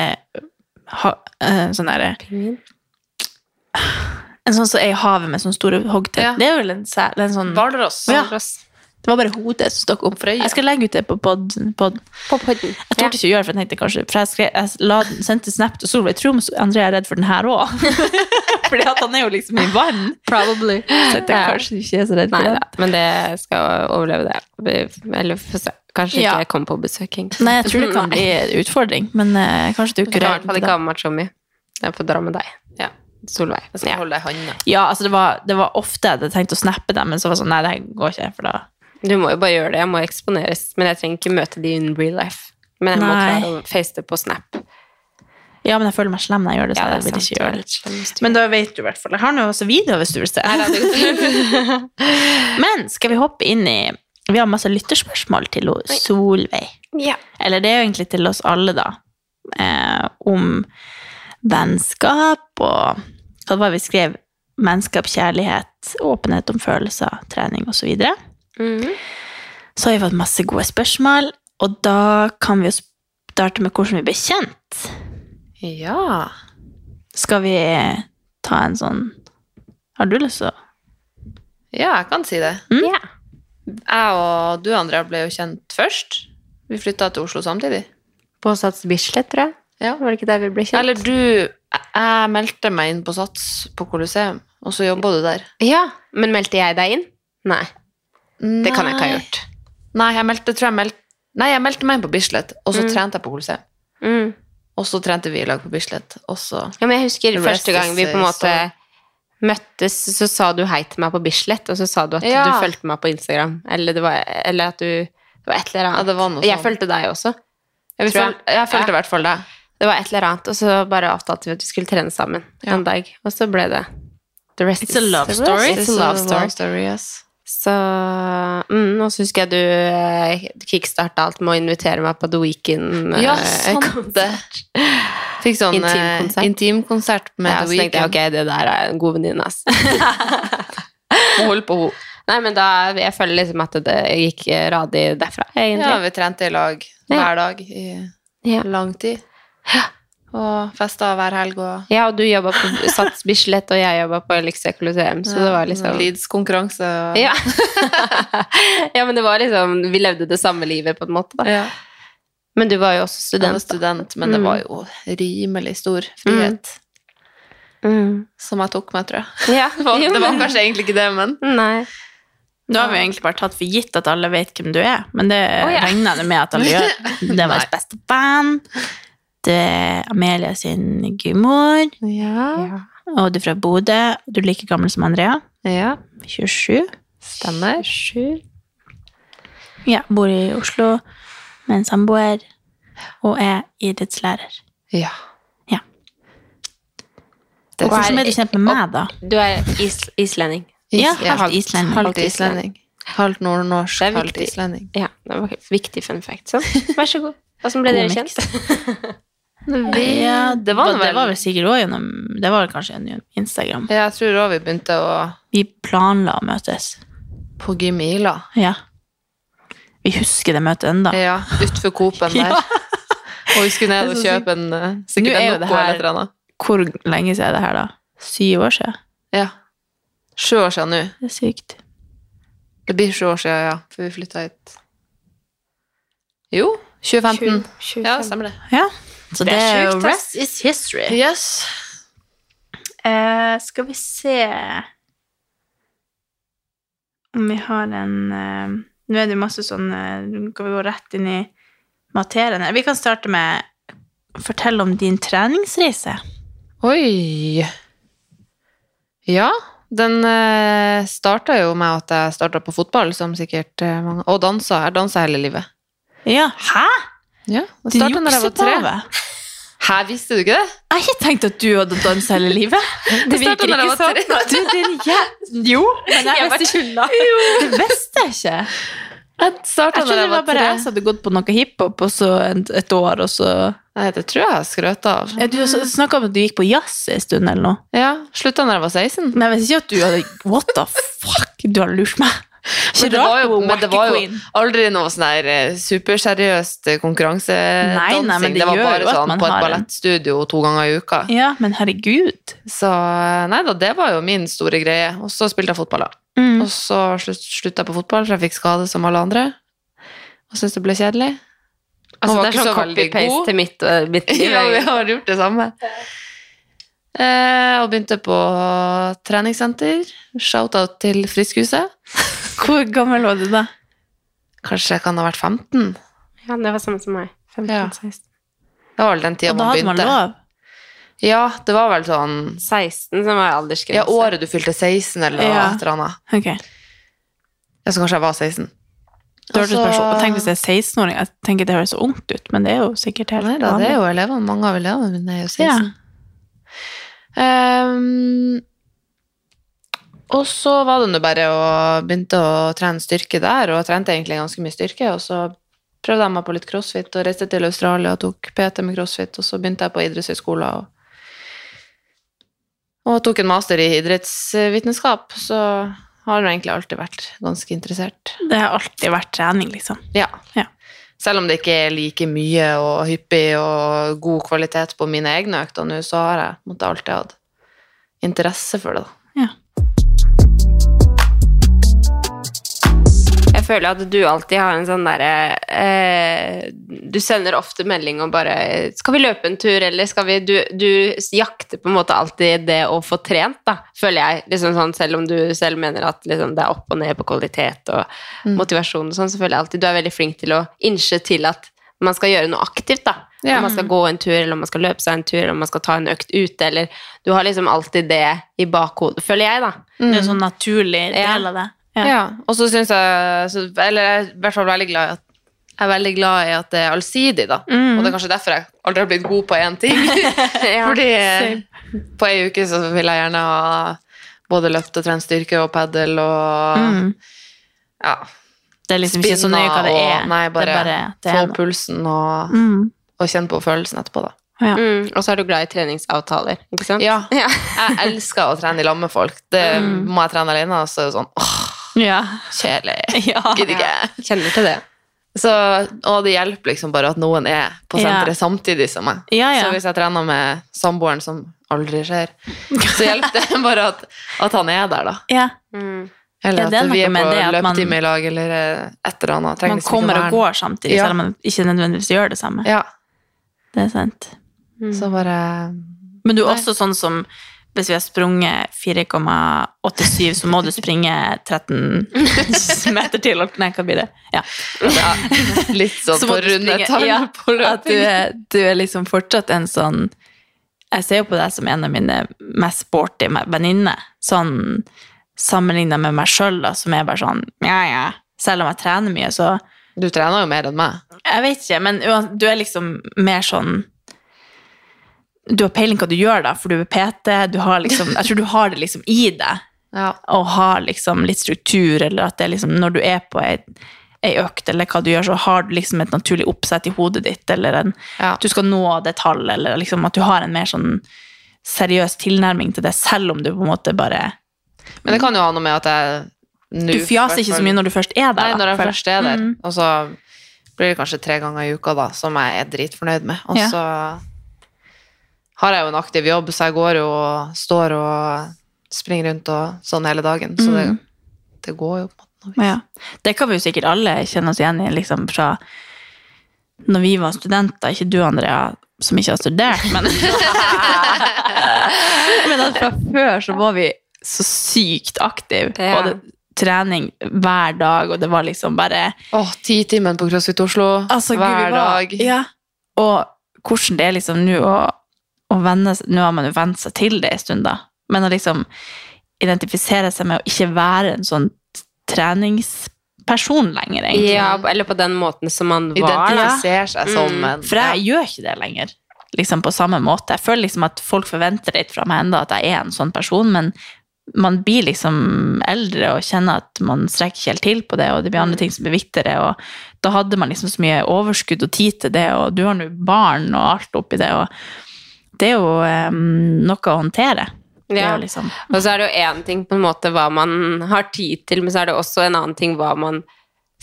[SPEAKER 1] ha- eh, Sånn derre En sånn som er i havet med sånne store hoggtenner.
[SPEAKER 3] Ja.
[SPEAKER 1] Det er vel en sel en sånn,
[SPEAKER 3] Hvalross.
[SPEAKER 1] Ja. Det var bare hodet som stakk opp.
[SPEAKER 3] Frøya.
[SPEAKER 1] Jeg skal legge ut det på podden. podden.
[SPEAKER 2] På podden.
[SPEAKER 1] Jeg torde ikke å gjøre det, for jeg tenkte kanskje For jeg, skrev, jeg la, sendte snap til Solveig Troms, André er redd for den her òg. Fordi at han er jo liksom i vann.
[SPEAKER 2] Probably.
[SPEAKER 1] Så jeg tenkte kanskje du ikke er så redd
[SPEAKER 2] Nei
[SPEAKER 1] for
[SPEAKER 2] da,
[SPEAKER 1] den.
[SPEAKER 2] men det skal overleve det. Vi- Eller få se. kanskje ikke
[SPEAKER 1] Ja.
[SPEAKER 2] jeg kommer på besøk. egentlig.
[SPEAKER 1] Nei, jeg tror det kan bli en utfordring, men eh, kanskje du
[SPEAKER 2] Jeg kan i
[SPEAKER 1] kurerer
[SPEAKER 2] hvert
[SPEAKER 1] den.
[SPEAKER 2] fall
[SPEAKER 1] til
[SPEAKER 2] ikke
[SPEAKER 1] da.
[SPEAKER 2] ha med meg så mye. Jeg får dra med deg.
[SPEAKER 3] Ja.
[SPEAKER 2] Solveig.
[SPEAKER 3] Jeg skal
[SPEAKER 2] Ja.
[SPEAKER 3] holde deg i handa.
[SPEAKER 1] Ja, altså det var, det var ofte jeg hadde tenkt å snappe dem, men så var det sånn, nei, det her går ikke, for da
[SPEAKER 2] Du må jo bare gjøre det. Jeg må eksponeres. Men jeg trenger ikke møte de in real life. Men jeg må
[SPEAKER 1] Nei.
[SPEAKER 2] klare å face det på Snap.
[SPEAKER 1] Ja, men jeg føler meg slem når jeg gjør det, så
[SPEAKER 2] Ja,
[SPEAKER 1] jeg vil
[SPEAKER 2] sant.
[SPEAKER 1] ikke
[SPEAKER 2] Du er
[SPEAKER 1] gjøre det.
[SPEAKER 2] litt slem, styr.
[SPEAKER 1] Men da vet du i hvert fall. Jeg har nå også video, hvis du vil se. Men skal vi hoppe inn i Vi har masse lytterspørsmål til ho- Solveig.
[SPEAKER 2] ja.
[SPEAKER 1] Eller det er jo egentlig til oss alle, da. Eh, om vennskap og Hva var det vi skrev? Vennskap, kjærlighet, åpenhet om følelser, trening osv. Så, videre.
[SPEAKER 2] Mhm.
[SPEAKER 1] så har vi fått masse gode spørsmål, og da kan vi jo starte med hvordan vi ble kjent.
[SPEAKER 3] Ja.
[SPEAKER 1] Skal vi ta en sånn Har du lyst til å
[SPEAKER 3] ja, jeg kan si det.
[SPEAKER 1] Mm.
[SPEAKER 2] Ja.
[SPEAKER 3] Jeg og du, Andrea, ble jo kjent først. Vi flytta til Oslo samtidig.
[SPEAKER 2] På Sats Bislett, tror jeg.
[SPEAKER 3] Ja.
[SPEAKER 2] Var det ikke der vi ble kjent?
[SPEAKER 3] Eller du jeg- Jeg meldte meg inn på Sats på Colosseum, og så jobba du der.
[SPEAKER 2] Ja, men meldte jeg deg inn? Nei,
[SPEAKER 3] Nei.
[SPEAKER 2] det kan jeg ikke ha gjort.
[SPEAKER 3] Nei, jeg meldte, tror jeg meldte Nei, jeg meldte meg inn på Bislett, og så
[SPEAKER 2] Mm.
[SPEAKER 3] trente jeg på Colosseum.
[SPEAKER 2] Mm.
[SPEAKER 3] Og så trente vi i lag på Bislett, og så
[SPEAKER 2] Ja, men jeg husker
[SPEAKER 3] The rest
[SPEAKER 2] første gang vi
[SPEAKER 3] is,
[SPEAKER 2] på en
[SPEAKER 3] eh,
[SPEAKER 2] måte møttes, så sa du hei til meg på Bislett, og så sa du at
[SPEAKER 3] Ja.
[SPEAKER 2] du fulgte meg på Instagram. Eller, det var, eller at du Det var et eller
[SPEAKER 3] Ja,
[SPEAKER 2] annet.
[SPEAKER 3] det var noe
[SPEAKER 2] jeg
[SPEAKER 3] sånn.
[SPEAKER 2] fulgte deg også. Tror jeg.
[SPEAKER 3] Jeg, føl, jeg følte i hvert fall det.
[SPEAKER 2] Det var et eller annet, og så bare avtalte vi at vi skulle trene sammen
[SPEAKER 3] Ja.
[SPEAKER 2] en dag. Og så ble det The rest
[SPEAKER 1] It's a love
[SPEAKER 2] is-
[SPEAKER 1] story.
[SPEAKER 2] It's a love story.
[SPEAKER 3] yes.
[SPEAKER 2] Så mm, Og så husker jeg du eh, kickstarta alt med å invitere meg på The eh, Weekend.
[SPEAKER 3] Ja, sant det. Fikk sånn
[SPEAKER 2] Intimkonsert.
[SPEAKER 3] eh, intimkonsert med
[SPEAKER 2] Ja,
[SPEAKER 3] The
[SPEAKER 2] så tenkte jeg
[SPEAKER 3] Weeknd.
[SPEAKER 2] ok, det der er en god venninne, ass.
[SPEAKER 3] Må holde på henne.
[SPEAKER 2] Nei, men da, jeg føler liksom at det gikk eh, radig derfra,
[SPEAKER 3] Ja,
[SPEAKER 2] egentlig.
[SPEAKER 3] vi trente i lag
[SPEAKER 2] Ja.
[SPEAKER 3] hver dag i
[SPEAKER 2] Ja.
[SPEAKER 3] lang tid. Og festa hver helg og
[SPEAKER 2] Ja, og du jobba på Sats Bislett, og jeg jobba på Elixia Colosseum, så det var liksom
[SPEAKER 3] Leeds-konkurranse. og-
[SPEAKER 2] ja. ja, men det var liksom Vi levde det samme livet, på en måte, da.
[SPEAKER 3] Ja.
[SPEAKER 2] Men du var jo også
[SPEAKER 3] Jeg var
[SPEAKER 2] student.
[SPEAKER 3] student, men det
[SPEAKER 2] Mm.
[SPEAKER 3] var jo rimelig stor frihet
[SPEAKER 2] Mm.
[SPEAKER 3] som jeg tok meg, tror jeg.
[SPEAKER 2] Ja,
[SPEAKER 3] Det var, det var kanskje egentlig ikke det, men
[SPEAKER 2] Nei.
[SPEAKER 1] Nå har vi jo egentlig bare tatt for gitt at alle vet hvem du er, men det
[SPEAKER 2] Å, ja.
[SPEAKER 1] regner jeg nå med at alle gjør. Det var
[SPEAKER 3] Nei.
[SPEAKER 1] hans beste band, det er Amelia sin gudmor,
[SPEAKER 3] Ja.
[SPEAKER 2] Ja.
[SPEAKER 1] og du er fra Bodø, du er like gammel som Andrea,
[SPEAKER 3] ja.
[SPEAKER 1] 27,
[SPEAKER 3] Stemmer.
[SPEAKER 1] ja, bor i Oslo med en samboer, og er idrettslærer.
[SPEAKER 3] Ja.
[SPEAKER 1] Ja.
[SPEAKER 3] Det
[SPEAKER 2] Og
[SPEAKER 1] Hvordan er du kjent med meg da?
[SPEAKER 2] Du er is islending.
[SPEAKER 1] Ja,
[SPEAKER 3] Ja,
[SPEAKER 1] halvt islending.
[SPEAKER 3] Halvt islending. Halvt nordnorsk,
[SPEAKER 2] Det er
[SPEAKER 3] halvt
[SPEAKER 2] viktig.
[SPEAKER 3] islending.
[SPEAKER 2] Ja, det var et viktig fun fact. Sånn. Vær så god. Hvordan ble
[SPEAKER 1] God
[SPEAKER 2] dere
[SPEAKER 1] mix.
[SPEAKER 2] kjent?
[SPEAKER 1] Ja, det var,
[SPEAKER 3] det
[SPEAKER 1] det
[SPEAKER 3] vel-
[SPEAKER 1] var vel sikkert også gjennom, det var vel kanskje gjennom Instagram.
[SPEAKER 3] Ja, jeg tror òg vi begynte å
[SPEAKER 1] Vi planla å møtes.
[SPEAKER 3] på Gimila.
[SPEAKER 1] Ja. Vi husker det møtet enda.
[SPEAKER 3] Ja, utfor Coop-en der. Og vi skulle
[SPEAKER 1] Det
[SPEAKER 3] ned
[SPEAKER 1] er
[SPEAKER 3] og
[SPEAKER 1] så
[SPEAKER 3] kjøpe en eh,
[SPEAKER 1] Nå
[SPEAKER 3] sikkert
[SPEAKER 1] er jo
[SPEAKER 3] en
[SPEAKER 1] det
[SPEAKER 3] Noco
[SPEAKER 1] her-
[SPEAKER 3] eller et eller annet.
[SPEAKER 1] Hvor lenge siden er det her da? Syv år siden?
[SPEAKER 3] Ja. Sju år siden nå.
[SPEAKER 1] Det er sykt.
[SPEAKER 3] Det blir sju år siden, ja. For vi flytta hit. Jo, 2015. Ja, stemmer det.
[SPEAKER 1] Ja, så det,
[SPEAKER 3] Det er
[SPEAKER 1] er jo
[SPEAKER 3] sjukt, ass.
[SPEAKER 1] rest is history.
[SPEAKER 3] Yes.
[SPEAKER 1] Eh, skal vi se om vi har en eh, Nå er det jo masse sånn eh, Nå kan vi gå rett inn i materiene. Vi kan starte med Fortell om din treningsreise.
[SPEAKER 3] Oi! Ja, den eh, starta jo med at jeg starta på fotball, som sikkert eh, mange Og dansa. Jeg dansa hele livet.
[SPEAKER 1] Ja. Hæ?
[SPEAKER 3] Ja, det
[SPEAKER 1] Du
[SPEAKER 3] starta da jeg var tre.
[SPEAKER 1] juksepave?
[SPEAKER 3] Hæ, visste du ikke det?
[SPEAKER 1] Jeg har ikke tenkt at du hadde dansa hele livet.
[SPEAKER 3] Det startet når jeg var tre.
[SPEAKER 1] sånn. Du, din jæ- Jo, men jeg,
[SPEAKER 2] Jeg bare
[SPEAKER 1] visste ikke. Det visste jeg ikke.
[SPEAKER 3] Jeg starta
[SPEAKER 1] Jeg trodde
[SPEAKER 3] da
[SPEAKER 1] det
[SPEAKER 3] jeg
[SPEAKER 1] var
[SPEAKER 3] var
[SPEAKER 1] bare
[SPEAKER 3] tre.
[SPEAKER 1] jeg som hadde gått på noe hiphop og så en- et år, og så
[SPEAKER 3] Nei, det tror jeg jeg skrøt av.
[SPEAKER 1] ja, Du snakka om at du gikk på jazz en stund eller noe.
[SPEAKER 3] Ja, Slutta når jeg var 16.
[SPEAKER 1] Men jeg visste ikke at du hadde What the fuck? Du har lurt meg. Ikke
[SPEAKER 3] Men det
[SPEAKER 1] rart
[SPEAKER 3] var jo-
[SPEAKER 1] du var
[SPEAKER 3] men det
[SPEAKER 1] wacky
[SPEAKER 3] var jo-
[SPEAKER 1] queen.
[SPEAKER 3] Aldri noe sånn der eh, superseriøst eh, konkurransedansing.
[SPEAKER 1] Nei, nei, men det
[SPEAKER 3] var
[SPEAKER 1] gjør
[SPEAKER 3] bare
[SPEAKER 1] jo at
[SPEAKER 3] sånn
[SPEAKER 1] man
[SPEAKER 3] på et
[SPEAKER 1] har en-
[SPEAKER 3] ballettstudio to ganger i uka.
[SPEAKER 1] Ja, men herregud.
[SPEAKER 3] Så eh, nei da, det var jo min store greie. Og så spilte jeg fotball, da.
[SPEAKER 1] Mm.
[SPEAKER 3] Og så slutt- slutta jeg på fotball, for jeg fikk skade som alle andre. Og syntes det ble kjedelig.
[SPEAKER 2] Altså,
[SPEAKER 3] var
[SPEAKER 2] det er
[SPEAKER 3] ikke
[SPEAKER 2] sånn
[SPEAKER 3] så veldig
[SPEAKER 2] copy-paste
[SPEAKER 3] god.
[SPEAKER 2] til mitt, øh, mitt liv.
[SPEAKER 3] Ja, vi
[SPEAKER 2] egentlig.
[SPEAKER 3] har gjort det samme. Eh, og begynte på treningssenter. Shout-out til Friskhuset.
[SPEAKER 1] Hvor gammel var du da?
[SPEAKER 3] Kanskje jeg kan ha vært 15?
[SPEAKER 2] Ja, det var samme som meg. 15,
[SPEAKER 3] Ja.
[SPEAKER 2] 16.
[SPEAKER 3] Det var vel den tida
[SPEAKER 1] Og da
[SPEAKER 3] man
[SPEAKER 1] hadde man
[SPEAKER 3] begynte.
[SPEAKER 1] lov?
[SPEAKER 3] Ja, det var vel sånn
[SPEAKER 2] 16 som var aldersgrense.
[SPEAKER 3] Ja, året du fylte 16, eller noe
[SPEAKER 1] Ja.
[SPEAKER 3] et eller annet.
[SPEAKER 1] Ok.
[SPEAKER 3] Ja, så kanskje jeg var 16.
[SPEAKER 1] Det hørtes
[SPEAKER 3] Og
[SPEAKER 1] bare
[SPEAKER 3] så-
[SPEAKER 1] så- Tenk hvis det er 16-åring. Jeg tenker det høres så ungt ut, men det er jo sikkert helt
[SPEAKER 3] Nei da, det er jo elevene. Mange av elevene mine er jo 16.
[SPEAKER 1] Ja.
[SPEAKER 3] Ehm, og så var det nå bare å begynte å trene styrke der, og jeg trente egentlig ganske mye styrke, og så prøvde jeg meg på litt crossfit, og reiste til Australia og tok PT med crossfit, og så begynte jeg på idrettshøyskolen, og, og tok en master i idrettsvitenskap, så har jeg egentlig alltid vært ganske interessert.
[SPEAKER 1] Det har alltid vært trening, liksom.
[SPEAKER 3] Ja.
[SPEAKER 1] Ja.
[SPEAKER 3] Selv om det ikke er like mye og hyppig og god kvalitet på mine egne økter nå, så har jeg måtte alltid hatt interesse for det. da.
[SPEAKER 2] Jeg føler at du alltid har en sånn derre eh, Du sender ofte melding og bare 'Skal vi løpe en tur', eller skal vi Du, du jakter på en måte alltid det å få trent, da, føler jeg. Liksom sånn, selv om du selv mener at liksom, det er opp og ned på kvalitet og
[SPEAKER 3] Mm.
[SPEAKER 2] motivasjon og sånn, så føler jeg alltid du er veldig flink til å innse til at man skal gjøre noe aktivt, da.
[SPEAKER 3] Ja.
[SPEAKER 2] Om man skal gå en tur, eller om man skal løpe seg en tur, eller om man skal ta en økt ute, eller Du har liksom alltid det i bakhodet, føler jeg, da.
[SPEAKER 1] Det er en sånn naturlig del av det.
[SPEAKER 3] Mm. Ja. Og så syns jeg så, Eller jeg er i hvert fall veldig glad i at jeg er veldig glad i at det er allsidig, da.
[SPEAKER 1] Mm.
[SPEAKER 3] Og det er kanskje derfor jeg aldri har blitt god på én ting. Fordi
[SPEAKER 1] same.
[SPEAKER 3] på ei uke så vil jeg gjerne ha både løpt og trent styrke og padel og
[SPEAKER 1] Mm.
[SPEAKER 3] ja,
[SPEAKER 1] Det er liksom ikke så nøye hva det
[SPEAKER 3] Spinna
[SPEAKER 1] er.
[SPEAKER 3] og- nei, bare
[SPEAKER 1] det er bare at det
[SPEAKER 3] få
[SPEAKER 1] er noe.
[SPEAKER 3] pulsen og,
[SPEAKER 1] Mm.
[SPEAKER 3] og kjenne på følelsen etterpå, da.
[SPEAKER 1] Ja.
[SPEAKER 2] Mm, og så er du glad i treningsavtaler, ikke sant?
[SPEAKER 3] Ja.
[SPEAKER 2] Ja.
[SPEAKER 3] Jeg elsker å trene i lag med folk. Det
[SPEAKER 1] Mm.
[SPEAKER 3] Må jeg trene alene, så er det sånn åh,
[SPEAKER 1] Ja.
[SPEAKER 3] kjedelig.
[SPEAKER 1] ja.
[SPEAKER 3] Gidder ikke.
[SPEAKER 2] Kjenner til det.
[SPEAKER 3] Så, og det hjelper liksom bare at noen er på
[SPEAKER 1] Ja.
[SPEAKER 3] senteret samtidig som meg.
[SPEAKER 1] Ja, ja.
[SPEAKER 3] Så hvis jeg trener med samboeren, som aldri skjer, så hjelper det bare at, at han er der, da.
[SPEAKER 1] ja.
[SPEAKER 2] Mm.
[SPEAKER 3] Eller
[SPEAKER 1] Ja,
[SPEAKER 3] at
[SPEAKER 1] det er
[SPEAKER 3] vi
[SPEAKER 1] noe
[SPEAKER 3] er
[SPEAKER 1] med
[SPEAKER 3] på
[SPEAKER 1] det at man-
[SPEAKER 3] løpetime i lag, eller eh, et eller annet. Trenger
[SPEAKER 1] Man
[SPEAKER 3] liksom ikke
[SPEAKER 1] kommer
[SPEAKER 3] være-
[SPEAKER 1] og går samtidig,
[SPEAKER 3] Ja.
[SPEAKER 1] selv om man ikke nødvendigvis gjør det samme.
[SPEAKER 3] Ja,
[SPEAKER 1] Det er sant. Mm.
[SPEAKER 3] så bare
[SPEAKER 1] Men du er
[SPEAKER 3] Nei.
[SPEAKER 1] også sånn som hvis vi har sprunget 4,87, så må du springe 13 meter til. og- Nei, hva blir det? Ja.
[SPEAKER 3] ja, Litt sånn
[SPEAKER 1] Så må
[SPEAKER 3] på
[SPEAKER 1] du
[SPEAKER 3] runde
[SPEAKER 1] springe-
[SPEAKER 3] tall
[SPEAKER 1] ja,
[SPEAKER 3] på
[SPEAKER 1] At du
[SPEAKER 3] løping.
[SPEAKER 1] er, du er liksom fortsatt en sånn Jeg ser jo på deg som en av mine mest sporty me- venninner. Sånn sammenligna med meg sjøl, da, som er bare sånn ja, ja. Selv om jeg trener mye, så
[SPEAKER 3] Du trener jo mer enn meg.
[SPEAKER 1] Jeg vet ikke, men uan- du er liksom mer sånn Du har peiling på hva du gjør, da, for du er PT. Du har liksom, jeg tror du har det liksom i deg
[SPEAKER 3] Ja.
[SPEAKER 1] og har liksom litt struktur, eller at det er liksom, når du er på ei, ei økt, eller hva du gjør, så har du liksom et naturlig oppsett i hodet ditt, eller en,
[SPEAKER 3] Ja.
[SPEAKER 1] at du skal nå det tallet, eller liksom at du har en mer sånn seriøs tilnærming til det, selv om du på en måte bare
[SPEAKER 3] Men det kan jo ha noe med at jeg
[SPEAKER 1] Du fjaser ikke så mye når du først er der.
[SPEAKER 3] Nei,
[SPEAKER 1] da,
[SPEAKER 3] når jeg
[SPEAKER 1] føler
[SPEAKER 3] først er der.
[SPEAKER 1] Mm.
[SPEAKER 3] Og så blir det kanskje tre ganger i uka, da, som jeg er dritfornøyd med. Og
[SPEAKER 1] Ja.
[SPEAKER 3] så har jeg jo en aktiv jobb, så jeg går jo og står og springer rundt og sånn hele dagen. Så det,
[SPEAKER 1] Mm.
[SPEAKER 3] det går jo på en måte.
[SPEAKER 1] Ja. Det kan vi jo sikkert alle kjenne oss igjen i, liksom fra når vi var studenter, ikke du, Andrea, som ikke har studert, men Men at fra før så var vi så sykt aktive,
[SPEAKER 2] Ja.
[SPEAKER 1] både trening hver dag, og det var liksom bare
[SPEAKER 3] Åh, ti timer på CrossFit Oslo
[SPEAKER 1] altså, Gud, vi var-
[SPEAKER 3] hver dag.
[SPEAKER 1] Ja. Og hvordan det er liksom nå å, å venne Nå har man jo vent seg til det en stund, da. Men å liksom identifisere seg med å ikke være en sånn treningsperson lenger, egentlig.
[SPEAKER 2] Ja, eller på den måten som man var. Da.
[SPEAKER 3] Identifiser seg som
[SPEAKER 2] Mm.
[SPEAKER 3] en
[SPEAKER 1] For jeg gjør ikke det lenger. Liksom på samme måte. Jeg føler liksom at folk forventer litt fra meg enda at jeg er en sånn person, men man blir liksom eldre og kjenner at man strekker ikke helt til på det, og det blir andre ting som blir viktigere, og da hadde man liksom så mye overskudd og tid til det, og du har nå barn og alt oppi det, og det er jo eh, noe å håndtere. Det er
[SPEAKER 2] Ja.
[SPEAKER 1] jo liksom...
[SPEAKER 2] Og så er det jo én ting på en måte hva man har tid til, men så er det også en annen ting hva man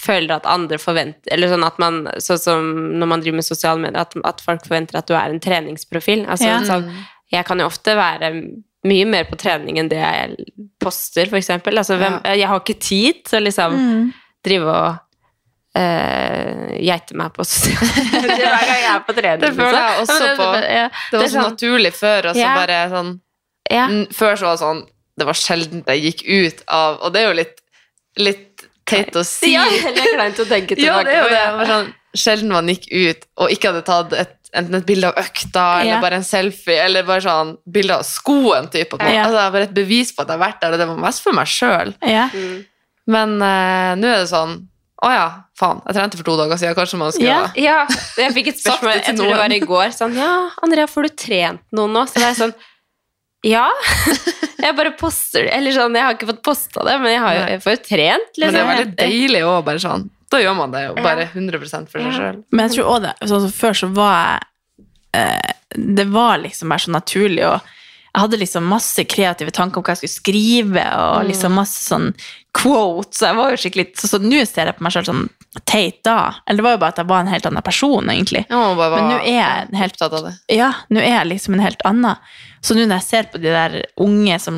[SPEAKER 2] føler at andre forventer Eller sånn at man, sånn som når man driver med sosiale medier, at, at folk forventer at du er en treningsprofil. Altså,
[SPEAKER 1] Ja.
[SPEAKER 2] sånn, jeg kan jo ofte være mye mer på trening enn det jeg poster, for eksempel. Altså, hvem, jeg har ikke tid til å liksom
[SPEAKER 1] Mm.
[SPEAKER 2] drive og eh, geite meg på sosiale medier hver gang jeg er på trening.
[SPEAKER 3] Det føler jeg
[SPEAKER 2] liksom.
[SPEAKER 3] også
[SPEAKER 2] Ja, men
[SPEAKER 3] på.
[SPEAKER 2] ja,
[SPEAKER 3] Det var
[SPEAKER 2] det er
[SPEAKER 3] så
[SPEAKER 2] sånn-
[SPEAKER 3] naturlig før, og så
[SPEAKER 2] Ja.
[SPEAKER 3] bare sånn
[SPEAKER 2] ja.
[SPEAKER 3] N- Før så var det sånn Det var sjelden jeg gikk ut av Og det er jo litt, litt teit å si.
[SPEAKER 2] Ja, det er kleint å tenke tilbake
[SPEAKER 3] Ja, det er
[SPEAKER 2] på,
[SPEAKER 3] jo det.
[SPEAKER 2] ja.
[SPEAKER 3] Det var sånn, sjelden man gikk ut og ikke hadde tatt et, enten et bilde av økta, eller
[SPEAKER 1] Ja.
[SPEAKER 3] bare en selfie, eller bare sånn bilde av skoen. Type, på.
[SPEAKER 1] Ja.
[SPEAKER 3] Altså, det var bare et bevis på at jeg har vært der, og det var mest for meg sjøl.
[SPEAKER 1] Ja.
[SPEAKER 2] Mm.
[SPEAKER 3] Men eh, nå er det sånn Å ja, faen. Jeg trente for to dager siden. Kanskje man skulle
[SPEAKER 1] Ja.
[SPEAKER 2] Ja, jeg fikk et
[SPEAKER 3] Sagt
[SPEAKER 2] spørsmål jeg
[SPEAKER 3] det til
[SPEAKER 2] tror det
[SPEAKER 3] noen.
[SPEAKER 2] var i går. Sånn, ja, Andrea, får du trent noe nå? Så det er sånn, ja. Jeg bare poster det. Eller sånn, jeg har ikke fått posta det, men jeg, har jo,
[SPEAKER 3] Nei.
[SPEAKER 2] jeg får jo trent.
[SPEAKER 3] Men det er
[SPEAKER 2] Liksom.
[SPEAKER 3] veldig deilig òg, bare sånn. Da gjør man det jo bare
[SPEAKER 2] Ja.
[SPEAKER 3] 100 for seg sjøl.
[SPEAKER 1] Men jeg tror også det, sånn som før så var jeg, eh, det var liksom bare så naturlig, og jeg hadde liksom masse kreative tanker om hva jeg skulle skrive, og
[SPEAKER 2] Mm.
[SPEAKER 1] liksom masse sånn quotes, så jeg var jo skikkelig, så, så nå ser jeg på meg selv sånn teit da, eller det var jo bare at jeg var en helt annen person egentlig.
[SPEAKER 3] Ja, man må bare
[SPEAKER 1] Men
[SPEAKER 3] være
[SPEAKER 1] nå er jeg helt
[SPEAKER 3] opptatt av det.
[SPEAKER 1] ja, nå er jeg liksom en helt annen. Så nå når jeg ser på de der unge som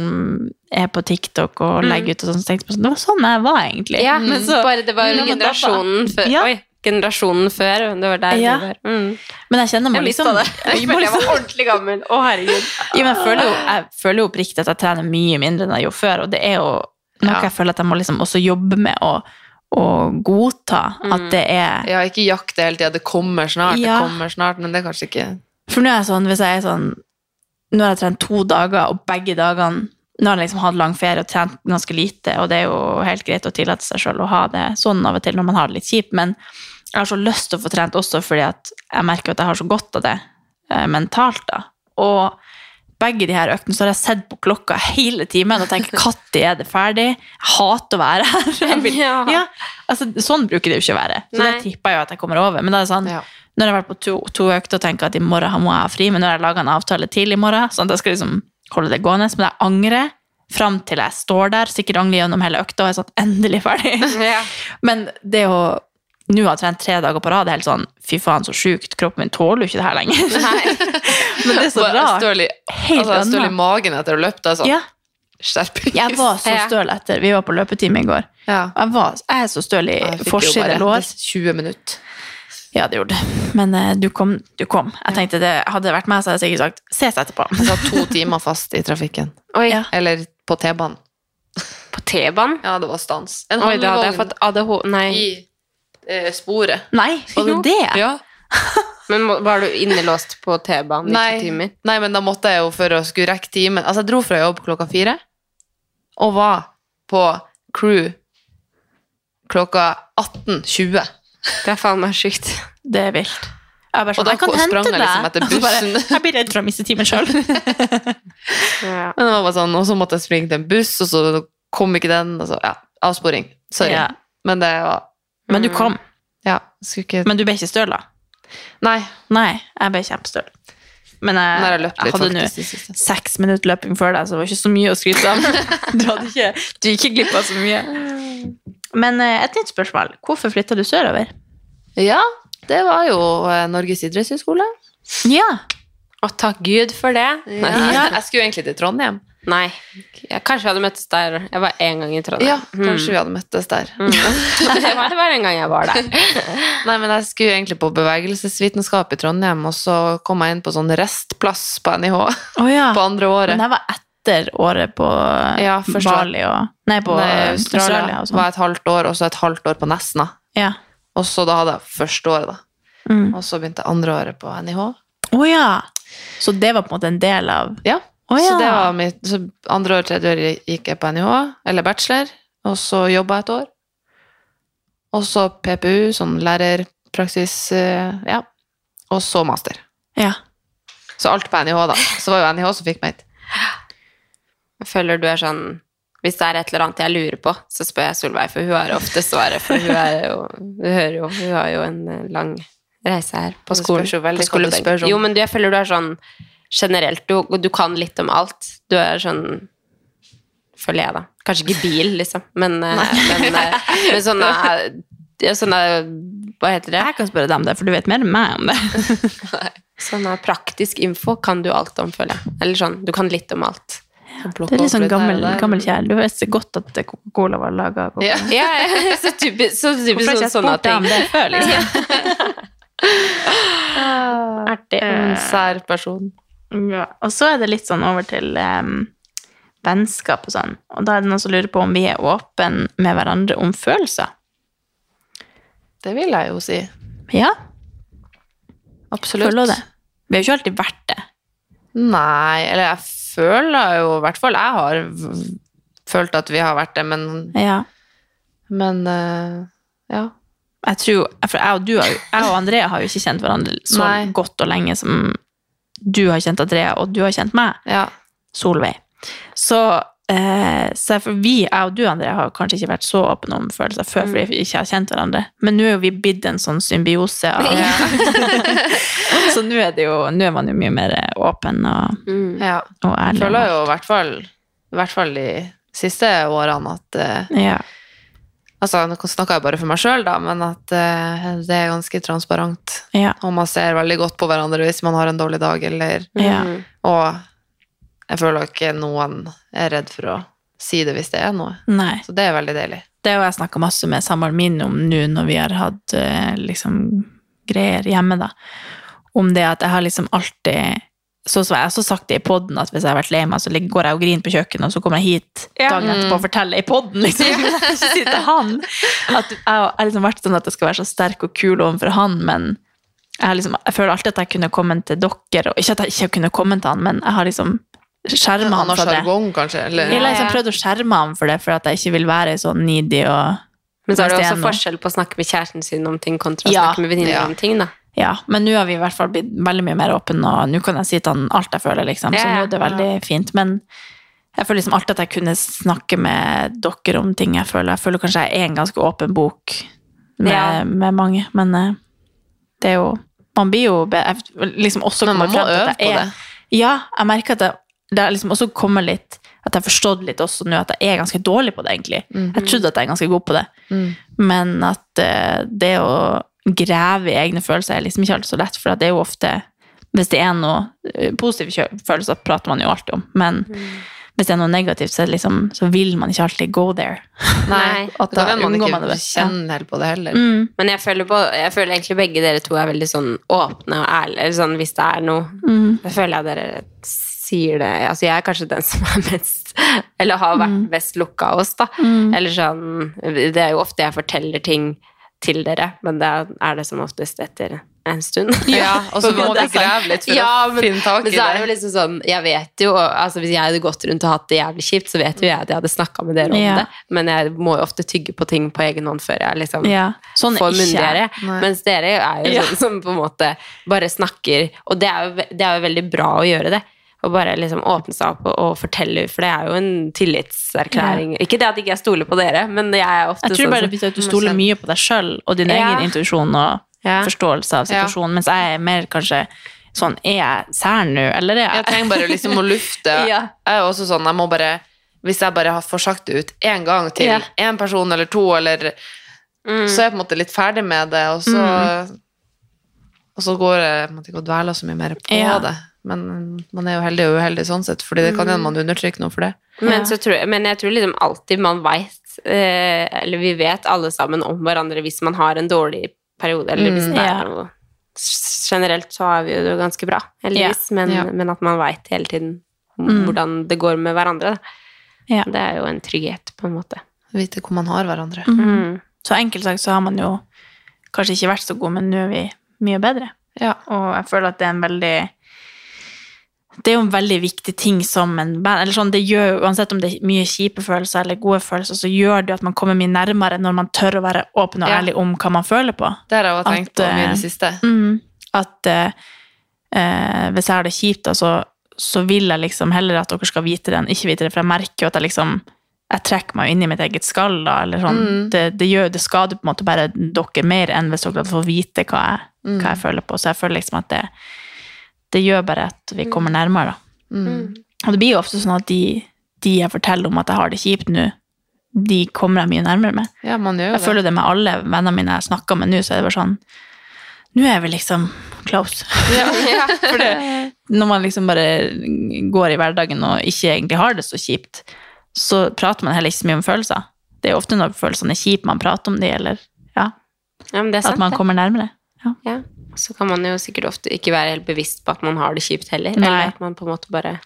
[SPEAKER 1] er på TikTok og legger ut og sånn, så tenker jeg på sånn, det var sånn jeg var egentlig.
[SPEAKER 2] Mm. Ja,
[SPEAKER 1] Men så-
[SPEAKER 2] bare det var
[SPEAKER 1] Men
[SPEAKER 2] jo
[SPEAKER 1] da var
[SPEAKER 2] generasjonen før.
[SPEAKER 1] Ja.
[SPEAKER 2] Oi, generasjonen før. Det var der
[SPEAKER 1] Ja.
[SPEAKER 2] vi var. Mm.
[SPEAKER 1] Men jeg kjenner meg
[SPEAKER 2] Jeg mista
[SPEAKER 1] liksom...
[SPEAKER 2] det. Jeg
[SPEAKER 1] må
[SPEAKER 2] følte jeg
[SPEAKER 1] liksom-
[SPEAKER 2] var ordentlig gammel. Å, herregud.
[SPEAKER 1] Ja, men jeg føler jo, jeg føler jo oppriktig at jeg trener mye mindre enn jeg gjorde før, og det er jo noe
[SPEAKER 3] Ja.
[SPEAKER 1] jeg føler at jeg må liksom også jobbe med å, å godta at det er
[SPEAKER 3] Ja, ikke jakte hele tida. Det kommer snart,
[SPEAKER 1] Ja.
[SPEAKER 3] det kommer snart, men det er kanskje ikke
[SPEAKER 1] For nå er jeg sånn, hvis jeg er sånn Nå har jeg trent to dager, og begge dagene Nå har jeg liksom hatt lang ferie og trent ganske lite, og det er jo helt greit å tillate seg sjøl å ha det sånn av og til når man har det litt kjipt, men jeg har så lyst til å få trent også fordi at jeg merker at jeg har så godt av det eh, mentalt, da. Og begge de her øktene så har jeg sett på klokka hele timen og tenker når er det ferdig? Jeg hater å være her. Jeg vil-
[SPEAKER 2] Ja.
[SPEAKER 1] Ja, altså, sånn bruker det jo ikke å være. Så
[SPEAKER 2] Nei.
[SPEAKER 1] det tipper jeg jo at jeg kommer over. Men da er det sånn,
[SPEAKER 3] Ja.
[SPEAKER 1] når jeg har vært på to, to økter og tenker at i morgen må jeg ha fri, men nå har jeg laga en avtale til i morgen, sånn at jeg skal liksom holde det gående. Men jeg angrer fram til jeg står der, sikkert angrer gjennom hele økta og er sånn endelig ferdig.
[SPEAKER 2] Ja.
[SPEAKER 1] Men det å nå ha trent tre dager på rad, det er helt sånn fy faen, så sjukt. Kroppen min tåler jo ikke det her lenger. Men det er så
[SPEAKER 3] Bare jeg
[SPEAKER 1] rart.
[SPEAKER 3] støl i,
[SPEAKER 1] Helt
[SPEAKER 3] altså, jeg støl i
[SPEAKER 1] annet.
[SPEAKER 3] magen etter å ha løpt. Altså.
[SPEAKER 1] Ja,
[SPEAKER 3] Skjerpings.
[SPEAKER 1] jeg var så
[SPEAKER 2] Ja.
[SPEAKER 1] støl etter Vi var på løpetime i går.
[SPEAKER 3] ja.
[SPEAKER 1] Jeg, var, jeg er så støl i
[SPEAKER 3] Jeg fikk jo
[SPEAKER 1] forside
[SPEAKER 3] bare
[SPEAKER 1] lår.
[SPEAKER 3] 20 minutter.
[SPEAKER 1] Ja, det gjorde det. Men eh, du kom. Du kom. Jeg tenkte det hadde det vært meg, så hadde jeg sikkert sagt ses etterpå.
[SPEAKER 3] Jeg satt to timer fast i trafikken.
[SPEAKER 2] Oi,
[SPEAKER 1] Ja.
[SPEAKER 3] Eller på T-banen.
[SPEAKER 2] på T-banen?
[SPEAKER 3] Ja, det var stans. En
[SPEAKER 2] Oi, da hadde jeg fått ADHD. Nei.
[SPEAKER 3] i eh, sporet.
[SPEAKER 1] Nei, var det
[SPEAKER 3] Jo.
[SPEAKER 1] det?
[SPEAKER 3] Ja.
[SPEAKER 2] Men må- var du innelåst på T-banen i to
[SPEAKER 3] Nei,
[SPEAKER 2] timer?
[SPEAKER 3] nei, men da måtte jeg jo for å skulle rekke timen. Altså, jeg dro fra jobb klokka fire, og var på crew klokka 18.20.
[SPEAKER 2] Det er faen meg sjukt.
[SPEAKER 1] Det er vilt. Jeg bare
[SPEAKER 3] Og
[SPEAKER 1] sånn,
[SPEAKER 3] da
[SPEAKER 1] jeg kan
[SPEAKER 3] ko-
[SPEAKER 1] hente
[SPEAKER 3] sprang jeg
[SPEAKER 1] deg.
[SPEAKER 3] liksom etter
[SPEAKER 1] Og så bare,
[SPEAKER 3] bussen.
[SPEAKER 1] Jeg blir redd for å miste timen sjøl.
[SPEAKER 2] Ja.
[SPEAKER 3] Men det var bare sånn, og så måtte jeg springe til en buss, og så kom ikke den, og så, ja, avsporing. Sorry. Mm.
[SPEAKER 1] Ja.
[SPEAKER 3] Men det var,
[SPEAKER 1] Men du kom.
[SPEAKER 3] ja, skulle ikke...
[SPEAKER 1] Men du ble ikke støl, da?
[SPEAKER 3] nei,
[SPEAKER 1] Nei, jeg ble kjempestøl. Men jeg,
[SPEAKER 3] nå har jeg løpt litt
[SPEAKER 1] hadde nå
[SPEAKER 3] faktisk. i siste.
[SPEAKER 1] seks minutter løping før deg, så det var ikke så mye å skryte av. Du, hadde ikke, du gikk ikke glipp av så mye. Men eh, et nytt spørsmål. Hvorfor flytta du sørover?
[SPEAKER 3] Ja, det var jo eh, Norges idrettshøyskole.
[SPEAKER 1] Ja.
[SPEAKER 2] Å, takk Gud for det. Nei.
[SPEAKER 3] Ja. Jeg skulle jo egentlig til Trondheim.
[SPEAKER 2] Nei. Jeg, kanskje vi hadde møttes der. Jeg var én gang i Trondheim. Hmm.
[SPEAKER 3] Ja, kanskje vi hadde møttes der.
[SPEAKER 2] det var det var en gang jeg var der.
[SPEAKER 3] Nei, men jeg skulle egentlig på bevegelsesvitenskap i Trondheim, og så kom jeg inn på sånn restplass på NIH
[SPEAKER 1] Å ja.
[SPEAKER 3] på andre
[SPEAKER 1] Men
[SPEAKER 3] året.
[SPEAKER 1] det var etter etter året på
[SPEAKER 3] Ja, forstå.
[SPEAKER 1] Bali og Nei, på
[SPEAKER 3] Nei, Australia,
[SPEAKER 1] Australia og sånn.
[SPEAKER 3] var et halvt år, og så et halvt år på Nesna.
[SPEAKER 1] Ja.
[SPEAKER 3] Og så da hadde jeg første året, da.
[SPEAKER 1] Mm.
[SPEAKER 3] Og så begynte andre året på NIH.
[SPEAKER 1] Å ja! Så det var på en måte en del av
[SPEAKER 3] Ja.
[SPEAKER 1] Å ja.
[SPEAKER 3] Så det var mitt, så andre år, tredje år gikk jeg på NIH, eller bachelor, og så jobba jeg et år. Og så PPU, sånn lærerpraksis, eh, ja. Og så master.
[SPEAKER 1] Ja.
[SPEAKER 3] Så alt på NIH, da. Så var jo NIH som fikk meg hit.
[SPEAKER 2] Jeg føler du er sånn Hvis det er et eller annet jeg lurer på, så spør jeg Solveig, for hun har ofte svaret. For hun er jo Du hører jo, hun har jo en eh, lang reise her på
[SPEAKER 3] Det
[SPEAKER 2] skolen.
[SPEAKER 3] spørs jo
[SPEAKER 2] på
[SPEAKER 3] veldig hva du
[SPEAKER 2] skolebenken.
[SPEAKER 3] spør om.
[SPEAKER 2] Jo, men du, jeg føler du er sånn generelt Du, du kan litt om alt. Du er sånn Føler jeg, da. Kanskje ikke bil, liksom, men, eh, men, eh, men sånne, ja, sånne Hva heter det?
[SPEAKER 1] Jeg kan spørre deg om det, for du vet mer enn meg om det.
[SPEAKER 2] Sånn eh, praktisk info kan du alt om, føler jeg. Eller sånn, du kan litt om alt.
[SPEAKER 1] Det er litt sånn gammel,
[SPEAKER 3] der og der.
[SPEAKER 1] gammel kjæl. Du visste godt at Coca-Cola var laga av
[SPEAKER 3] Ja.
[SPEAKER 1] Coca-Cola.
[SPEAKER 3] liksom
[SPEAKER 2] Ja, ja, så typisk, så typisk
[SPEAKER 1] Hvorfor har ikke
[SPEAKER 2] sånn,
[SPEAKER 1] jeg
[SPEAKER 2] sånne
[SPEAKER 1] spurt deg
[SPEAKER 2] ting.
[SPEAKER 1] om det før? Liksom?
[SPEAKER 2] Artig.
[SPEAKER 3] En sær person.
[SPEAKER 1] Eh, Ja. Og så er det litt sånn over til em, vennskap og sånn. Og da er det noen som lurer på om vi er åpne med hverandre om følelser.
[SPEAKER 3] Det vil jeg jo si.
[SPEAKER 1] Ja,
[SPEAKER 3] Absolutt.
[SPEAKER 1] føler du det? Vi har jo ikke alltid vært det.
[SPEAKER 3] Nei, eller jeg føler jo I hvert fall jeg har v- følt at vi har vært det, men,
[SPEAKER 1] Ja.
[SPEAKER 3] men eh, ja.
[SPEAKER 1] Jeg tror, for jeg og, du har, jo- jeg og Andrea har jo ikke kjent hverandre så
[SPEAKER 3] Nei.
[SPEAKER 1] godt og lenge som du har kjent Andrea, og du har kjent meg.
[SPEAKER 3] ja.
[SPEAKER 1] Solveig. Så, eh, så for vi, jeg og du, André, har kanskje ikke vært så åpne om følelser før,
[SPEAKER 3] Mm.
[SPEAKER 1] fordi vi ikke har kjent hverandre. Men nå er jo vi blitt en sånn symbiose. Av, så nå er, det jo, nå er man jo mye mer eh, åpen og,
[SPEAKER 2] Mm.
[SPEAKER 3] ja.
[SPEAKER 1] og
[SPEAKER 3] Jeg
[SPEAKER 1] ærlig.
[SPEAKER 3] føler jo i hvert fall, i hvert fall de siste årene at eh,
[SPEAKER 1] Ja.
[SPEAKER 3] Altså, nå snakker jeg bare for meg sjøl, da, men at eh, det er ganske transparent.
[SPEAKER 1] Ja.
[SPEAKER 3] Og man ser veldig godt på hverandre hvis man har en dårlig dag, eller
[SPEAKER 1] Ja.
[SPEAKER 2] Mm.
[SPEAKER 3] Og jeg føler ikke noen er redd for å si det hvis det er noe.
[SPEAKER 1] Nei.
[SPEAKER 3] Så det er veldig deilig.
[SPEAKER 1] Det har jeg snakka masse med samboeren min om nå når vi har hatt eh, liksom, greier hjemme, da. Om det at jeg har liksom alltid Sånn som jeg har også sagt det i poden, at hvis jeg har vært lei meg, så ligger- går jeg og griner på kjøkkenet, og så kommer jeg hit dagen etterpå og forteller i poden, liksom. Så sitter han. At jeg har liksom vært sånn at jeg skal være så sterk og kul overfor han, men jeg, har liksom, jeg føler alltid at jeg kunne kommet til dere, og ikke at jeg ikke kunne kommet til han, men jeg har liksom skjermet han
[SPEAKER 3] har
[SPEAKER 1] fra det.
[SPEAKER 3] sjargong, kanskje? Eller?
[SPEAKER 1] Jeg har
[SPEAKER 2] Ja,
[SPEAKER 1] liksom
[SPEAKER 2] ja.
[SPEAKER 1] prøvd å skjerme ham for det, for at jeg ikke vil være sånn needy og
[SPEAKER 2] Men så er det
[SPEAKER 1] Mens det er
[SPEAKER 2] også
[SPEAKER 1] nå.
[SPEAKER 2] forskjell på å snakke med kjæresten sin om ting kontra å
[SPEAKER 1] Ja.
[SPEAKER 2] snakke med venninner
[SPEAKER 3] Ja.
[SPEAKER 2] om ting, da.
[SPEAKER 1] Ja, men nå har vi i hvert fall blitt veldig mye mer åpne, og nå kan jeg si til han alt jeg føler, liksom. Så
[SPEAKER 2] Ja, ja.
[SPEAKER 1] nå er det veldig fint. Men jeg føler liksom alltid at jeg kunne snakke med dere om ting jeg føler. Jeg føler kanskje jeg er en ganske åpen bok med,
[SPEAKER 2] Ja.
[SPEAKER 1] med mange, men eh, det er jo Man blir jo be- jeg liksom også
[SPEAKER 3] Men man
[SPEAKER 1] kommer
[SPEAKER 3] må
[SPEAKER 1] frem til at
[SPEAKER 3] øve
[SPEAKER 1] jeg
[SPEAKER 3] på
[SPEAKER 1] er-
[SPEAKER 3] det.
[SPEAKER 1] Ja, jeg merker at jeg, det er liksom også kommer litt At jeg har forstått litt også nå at jeg er ganske dårlig på det, egentlig. Jeg trodde at jeg er ganske god på det.
[SPEAKER 3] Mm.
[SPEAKER 1] Men at eh, det å grave i egne følelser er liksom ikke alltid så lett, for at det er jo ofte Hvis det er noe eh, positive kjø- følelser, prater man jo alltid om, men hvis det er noe negativt, så, er det liksom, så vil man ikke alltid go there.
[SPEAKER 2] Nei.
[SPEAKER 1] At
[SPEAKER 3] Da
[SPEAKER 1] da
[SPEAKER 3] kan man
[SPEAKER 1] unngår
[SPEAKER 3] ikke
[SPEAKER 1] man det. Ja.
[SPEAKER 3] kjenne helt på det heller.
[SPEAKER 1] Mm,
[SPEAKER 2] Men jeg føler, på, jeg føler egentlig begge dere to er veldig sånn åpne og ærlige eller sånn, hvis det er noe.
[SPEAKER 1] mm,
[SPEAKER 2] Jeg føler at dere sier det Altså, jeg er kanskje den som er mest Eller har vært mest lukka av oss, da.
[SPEAKER 1] mm.
[SPEAKER 2] Eller sånn Det er jo ofte jeg forteller ting til dere, men det er det som oftest etter en stund.
[SPEAKER 3] Ja, og så
[SPEAKER 2] For
[SPEAKER 3] må
[SPEAKER 2] det er
[SPEAKER 3] du
[SPEAKER 2] sant.
[SPEAKER 3] grave litt for
[SPEAKER 2] Ja,
[SPEAKER 3] å finne tak
[SPEAKER 2] Men
[SPEAKER 3] i
[SPEAKER 2] så er det jo
[SPEAKER 3] det.
[SPEAKER 2] liksom sånn, jeg vet jo, altså hvis jeg hadde gått rundt og hatt det jævlig kjipt, så vet jo jeg at jeg hadde snakka med dere om
[SPEAKER 1] Ja.
[SPEAKER 2] det, men jeg må jo ofte tygge på ting på egen hånd før jeg liksom
[SPEAKER 1] Ja. Sånn er
[SPEAKER 2] får
[SPEAKER 1] ikke jeg.
[SPEAKER 2] munndiaré.
[SPEAKER 3] Nei.
[SPEAKER 2] Mens dere er jo
[SPEAKER 1] Ja.
[SPEAKER 2] sånn som på en måte bare snakker, og det er jo, ve- det er jo veldig bra å gjøre det. Og bare liksom åpne seg opp og, og fortelle, for det er jo en tillitserklæring. Ikke det at ikke jeg stoler på dere, men jeg er ofte
[SPEAKER 1] Jeg tror
[SPEAKER 2] sånn
[SPEAKER 1] bare
[SPEAKER 2] som-
[SPEAKER 1] at du stoler mye på deg sjøl og din
[SPEAKER 2] Ja.
[SPEAKER 1] egen intuisjon og
[SPEAKER 2] Ja.
[SPEAKER 1] forståelse av
[SPEAKER 3] Ja.
[SPEAKER 1] situasjonen, mens jeg er mer kanskje sånn Er jeg sær nå, eller er
[SPEAKER 3] Jeg trenger bare liksom å lufte.
[SPEAKER 1] Ja.
[SPEAKER 3] Jeg er jo også sånn, jeg må bare Hvis jeg bare har- får sagt det ut én gang til
[SPEAKER 2] Ja.
[SPEAKER 3] én person eller to, eller
[SPEAKER 1] Mm.
[SPEAKER 3] Så er jeg på en måte litt ferdig med det, og så Og så går jeg på en måte ikke og dveler så mye mer på
[SPEAKER 1] Ja.
[SPEAKER 3] det. Men man er jo heldig og uheldig sånn sett, fordi det kan hende
[SPEAKER 1] Mm.
[SPEAKER 3] man undertrykker noe for det.
[SPEAKER 1] Ja.
[SPEAKER 2] Men, så tror jeg, men jeg tror liksom alltid man vet, eh, eller vi vet alle sammen om hverandre hvis man har en dårlig periode, eller hvis
[SPEAKER 3] Mm.
[SPEAKER 2] det
[SPEAKER 1] Ja.
[SPEAKER 2] er noe. Generelt så har vi det jo ganske bra, heldigvis, men,
[SPEAKER 3] Ja.
[SPEAKER 2] men at man vet hele tiden
[SPEAKER 1] Mm.
[SPEAKER 2] hvordan det går med hverandre. Da.
[SPEAKER 1] Ja.
[SPEAKER 2] Det er jo en trygghet, på en måte.
[SPEAKER 3] Vite hvor man har hverandre.
[SPEAKER 1] Mhm. Så enkelt sagt så har man jo kanskje ikke vært så god, men nå er vi mye bedre.
[SPEAKER 3] Ja.
[SPEAKER 1] Og jeg føler at det er en veldig Det er jo en veldig viktig ting som en band eller sånn, det gjør, Uansett om det er mye kjipe følelser eller gode følelser, så gjør det jo at man kommer mye nærmere når man tør å være åpen og
[SPEAKER 3] Ja.
[SPEAKER 1] ærlig om hva man føler på.
[SPEAKER 3] Det har jeg også tenkt på
[SPEAKER 1] At,
[SPEAKER 3] mye i
[SPEAKER 1] eh,
[SPEAKER 3] det siste.
[SPEAKER 1] At eh, eh, hvis jeg har det kjipt, da, så, så vil jeg liksom heller at dere skal vite det enn ikke vite det, for jeg merker jo at jeg liksom jeg trekker meg jo inn i mitt eget skall, da, eller sånn.
[SPEAKER 3] Mm.
[SPEAKER 1] Det, det, gjør, det skader på en måte bare dere mer enn hvis dere hadde fått vite hva jeg,
[SPEAKER 3] Mm.
[SPEAKER 1] hva jeg føler på. Så jeg føler liksom at det, det gjør bare at vi kommer nærmere, da.
[SPEAKER 3] Mm.
[SPEAKER 1] Og det blir jo ofte sånn at de, de jeg forteller om at jeg har det kjipt nå, de kommer jeg mye nærmere med.
[SPEAKER 3] Ja, man gjør jo
[SPEAKER 1] Jeg føler det med alle vennene mine jeg snakker med nå, så er det bare sånn Nå er vi liksom close.
[SPEAKER 3] Ja, ja, for det.
[SPEAKER 1] Når man liksom bare går i hverdagen og ikke egentlig har det så kjipt, så prater man heller ikke så mye om følelser. Det er jo ofte når følelsene er kjipe man prater om de, eller ja,
[SPEAKER 2] Ja, men det er sant.
[SPEAKER 1] at man
[SPEAKER 2] det.
[SPEAKER 1] kommer nærmere.
[SPEAKER 2] Ja. Så kan man jo sikkert ofte ikke være helt bevisst på at man har det kjipt heller.
[SPEAKER 1] Nei.
[SPEAKER 2] Eller at man på en måte bare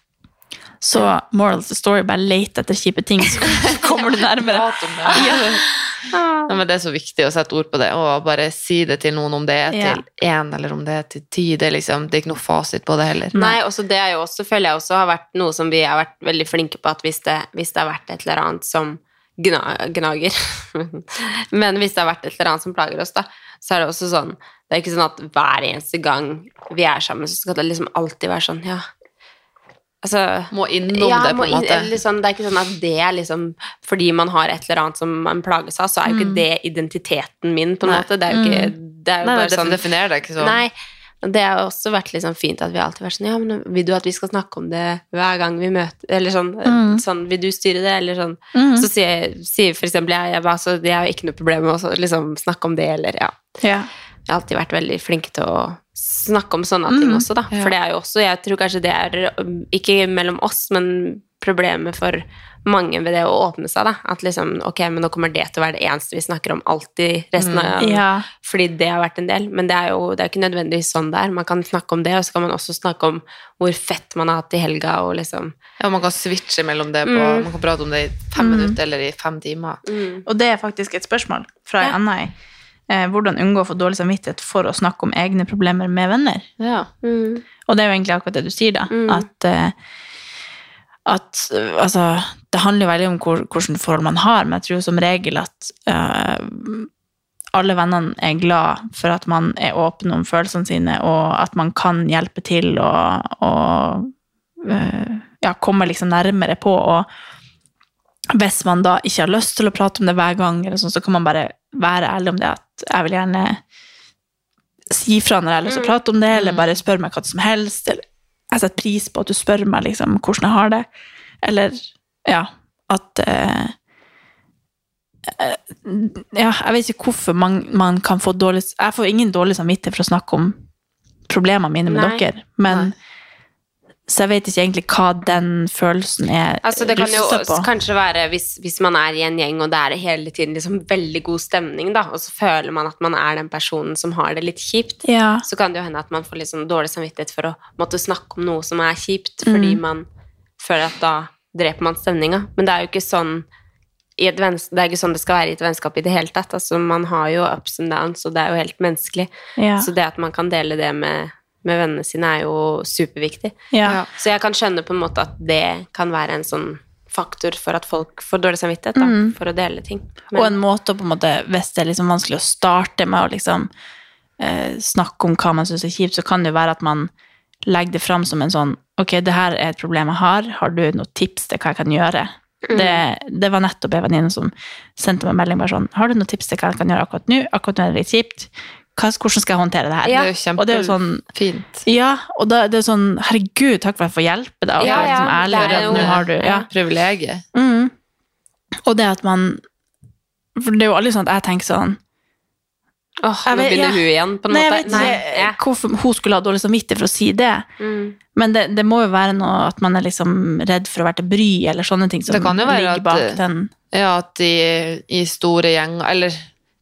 [SPEAKER 1] Så moral of the story, bare let etter kjipe ting, så kommer du nærmere.
[SPEAKER 3] Prat om det.
[SPEAKER 1] Ah.
[SPEAKER 3] Ja, men det er så viktig å sette ord på det, og bare si det til noen om det er
[SPEAKER 1] Ja.
[SPEAKER 3] til én eller om det er til ti. Det er, liksom, det er ikke noe fasit på det heller.
[SPEAKER 2] Nei, også det er jo også, føler jeg også har vært noe som vi har vært veldig flinke på, at hvis det, hvis det har vært et eller annet som gna, gnager Men hvis det har vært et eller annet som plager oss, da, så er det også sånn Det er ikke sånn at hver eneste gang vi er sammen, så skal det liksom alltid være sånn, ja Altså
[SPEAKER 3] Må innom det, på
[SPEAKER 2] må
[SPEAKER 3] en
[SPEAKER 2] inn-
[SPEAKER 3] måte.
[SPEAKER 2] eller liksom, det er ikke sånn at det er liksom Fordi man har et eller annet som man plages av, så er jo ikke det identiteten min, på en måte.
[SPEAKER 3] Mm. Nei. Mm.
[SPEAKER 2] Det er jo ikke Det er jo
[SPEAKER 3] Nei,
[SPEAKER 2] bare
[SPEAKER 3] det
[SPEAKER 2] sånn
[SPEAKER 3] definerer det
[SPEAKER 1] Liksom.
[SPEAKER 3] ikke sånn.
[SPEAKER 2] Nei. og Det har også vært liksom fint at vi alltid har vært sånn Ja, men vil du at vi skal snakke om det hver gang vi møter Eller sånn,
[SPEAKER 1] Mm.
[SPEAKER 2] sånn Vil du styre det? Eller sånn.
[SPEAKER 1] Mm.
[SPEAKER 2] Så sier, sier for eksempel jeg, jeg, bare, så, jeg har ikke noe problem med å så- liksom, snakke om det, eller ja.
[SPEAKER 1] Ja.
[SPEAKER 2] Jeg har alltid vært veldig flink til å snakke om sånne ting
[SPEAKER 1] Mm,
[SPEAKER 2] også, da.
[SPEAKER 3] ja.
[SPEAKER 2] For det er jo også Jeg tror kanskje det er um, ikke mellom oss, men problemet for mange ved det å åpne seg, da. At liksom Ok, men nå kommer det til å være det eneste vi snakker om alltid resten av
[SPEAKER 1] Mm. ja.
[SPEAKER 2] fordi det har vært en del, men det er jo det er ikke nødvendigvis sånn det er. Man kan snakke om det, og så kan man også snakke om hvor fett man har hatt i helga, og liksom
[SPEAKER 3] Ja, man kan switche mellom det på
[SPEAKER 2] Mm.
[SPEAKER 3] Man kan prate om det i fem
[SPEAKER 1] Mm.
[SPEAKER 3] minutter eller i fem timer.
[SPEAKER 1] Og det er faktisk et spørsmål fra
[SPEAKER 2] Ja.
[SPEAKER 1] en annen. Eh, Hvordan unngå å få dårlig samvittighet for å snakke om egne problemer med venner?
[SPEAKER 3] Ja.
[SPEAKER 2] Mm.
[SPEAKER 1] Og det er jo egentlig akkurat det du sier, da.
[SPEAKER 2] Mm.
[SPEAKER 1] At, eh, at eh, altså, det handler jo veldig om hvor, hvilke forhold man har, men jeg tror som regel at eh, alle vennene er glad for at man er åpen om følelsene sine, og at man kan hjelpe til og, og eh, ja, komme liksom nærmere på. Og hvis man da ikke har lyst til å prate om det hver gang, eller sånn, så kan man bare være ærlig om det at jeg vil gjerne si fra når jeg har lyst til
[SPEAKER 2] Mm.
[SPEAKER 1] å prate om det, eller bare spør meg hva som helst. Eller jeg setter pris på at du spør meg liksom, hvordan jeg har det. Eller ja, at eh, eh, ja, Jeg vet ikke hvorfor man, man kan få dårlig Jeg får ingen dårlig samvittighet for å snakke om problemene mine med
[SPEAKER 2] Nei.
[SPEAKER 1] dere, men så jeg vet ikke egentlig hva den følelsen er
[SPEAKER 2] Altså, det kan jo
[SPEAKER 1] rustet
[SPEAKER 2] også kanskje være hvis, hvis man er i en gjeng, og det er hele tiden liksom veldig god stemning, da, og så føler man at man er den personen som har det litt kjipt,
[SPEAKER 1] Ja.
[SPEAKER 2] så kan det jo hende at man får litt sånn dårlig samvittighet for å måtte snakke om noe som er
[SPEAKER 1] Mm.
[SPEAKER 2] kjipt, fordi man føler at da dreper man stemninga. Men det er jo ikke sånn i et venns- det er ikke sånn det skal være i et vennskap i det hele tatt. Altså, man har jo ups and downs, og det er jo helt menneskelig.
[SPEAKER 1] Ja.
[SPEAKER 2] Så det at man kan dele det med, med vennene sine, er jo superviktig.
[SPEAKER 1] ja.
[SPEAKER 3] Ja.
[SPEAKER 2] Så jeg kan skjønne på en måte at det kan være en sånn faktor for at folk får dårlig samvittighet da, for å dele ting.
[SPEAKER 1] Mm.
[SPEAKER 2] Men-
[SPEAKER 1] Og en måte å på en måte, hvis det er liksom vanskelig å starte med å liksom, eh, snakke om hva man syns er kjipt, så kan det jo være at man legger det fram som en sånn Ok, det her er et problem jeg har. Har du noen tips til hva jeg kan gjøre?
[SPEAKER 2] Mm.
[SPEAKER 1] Det, det var nettopp en venninne som sendte meg en melding bare sånn Har du noen tips til hva jeg kan gjøre akkurat nå? Akkurat nå er det litt kjipt. Hva, hvordan skal jeg håndtere det her?
[SPEAKER 2] Ja.
[SPEAKER 3] Det er jo
[SPEAKER 1] Og det er jo sånn
[SPEAKER 3] kjempefint.
[SPEAKER 1] Ja, og da, det er sånn Herregud, takk for at jeg får hjelpe deg. Og
[SPEAKER 2] Ja,
[SPEAKER 1] være liksom
[SPEAKER 2] ja,
[SPEAKER 1] ærlig og
[SPEAKER 2] det er
[SPEAKER 1] redd. Nå
[SPEAKER 2] jo-
[SPEAKER 1] har du Ja.
[SPEAKER 3] Privilegiet.
[SPEAKER 1] Mm. Og det at man For det er jo aldri sånn at jeg tenker sånn
[SPEAKER 2] Åh,
[SPEAKER 1] Jeg
[SPEAKER 2] nå
[SPEAKER 1] vet-
[SPEAKER 2] begynner
[SPEAKER 1] ja.
[SPEAKER 2] hun igjen, på en
[SPEAKER 1] Nei, jeg
[SPEAKER 2] måte.
[SPEAKER 1] vet ikke
[SPEAKER 2] ja.
[SPEAKER 1] hvorfor hun skulle ha dårlig samvittighet for å si det.
[SPEAKER 2] Mm.
[SPEAKER 1] Men det, det må jo være noe at man er liksom redd for å være til bry, eller sånne ting som
[SPEAKER 3] Det kan jo være
[SPEAKER 1] ligger
[SPEAKER 3] at,
[SPEAKER 1] bak
[SPEAKER 3] eh,
[SPEAKER 1] den.
[SPEAKER 3] Ja, at i, i store gjenger, eller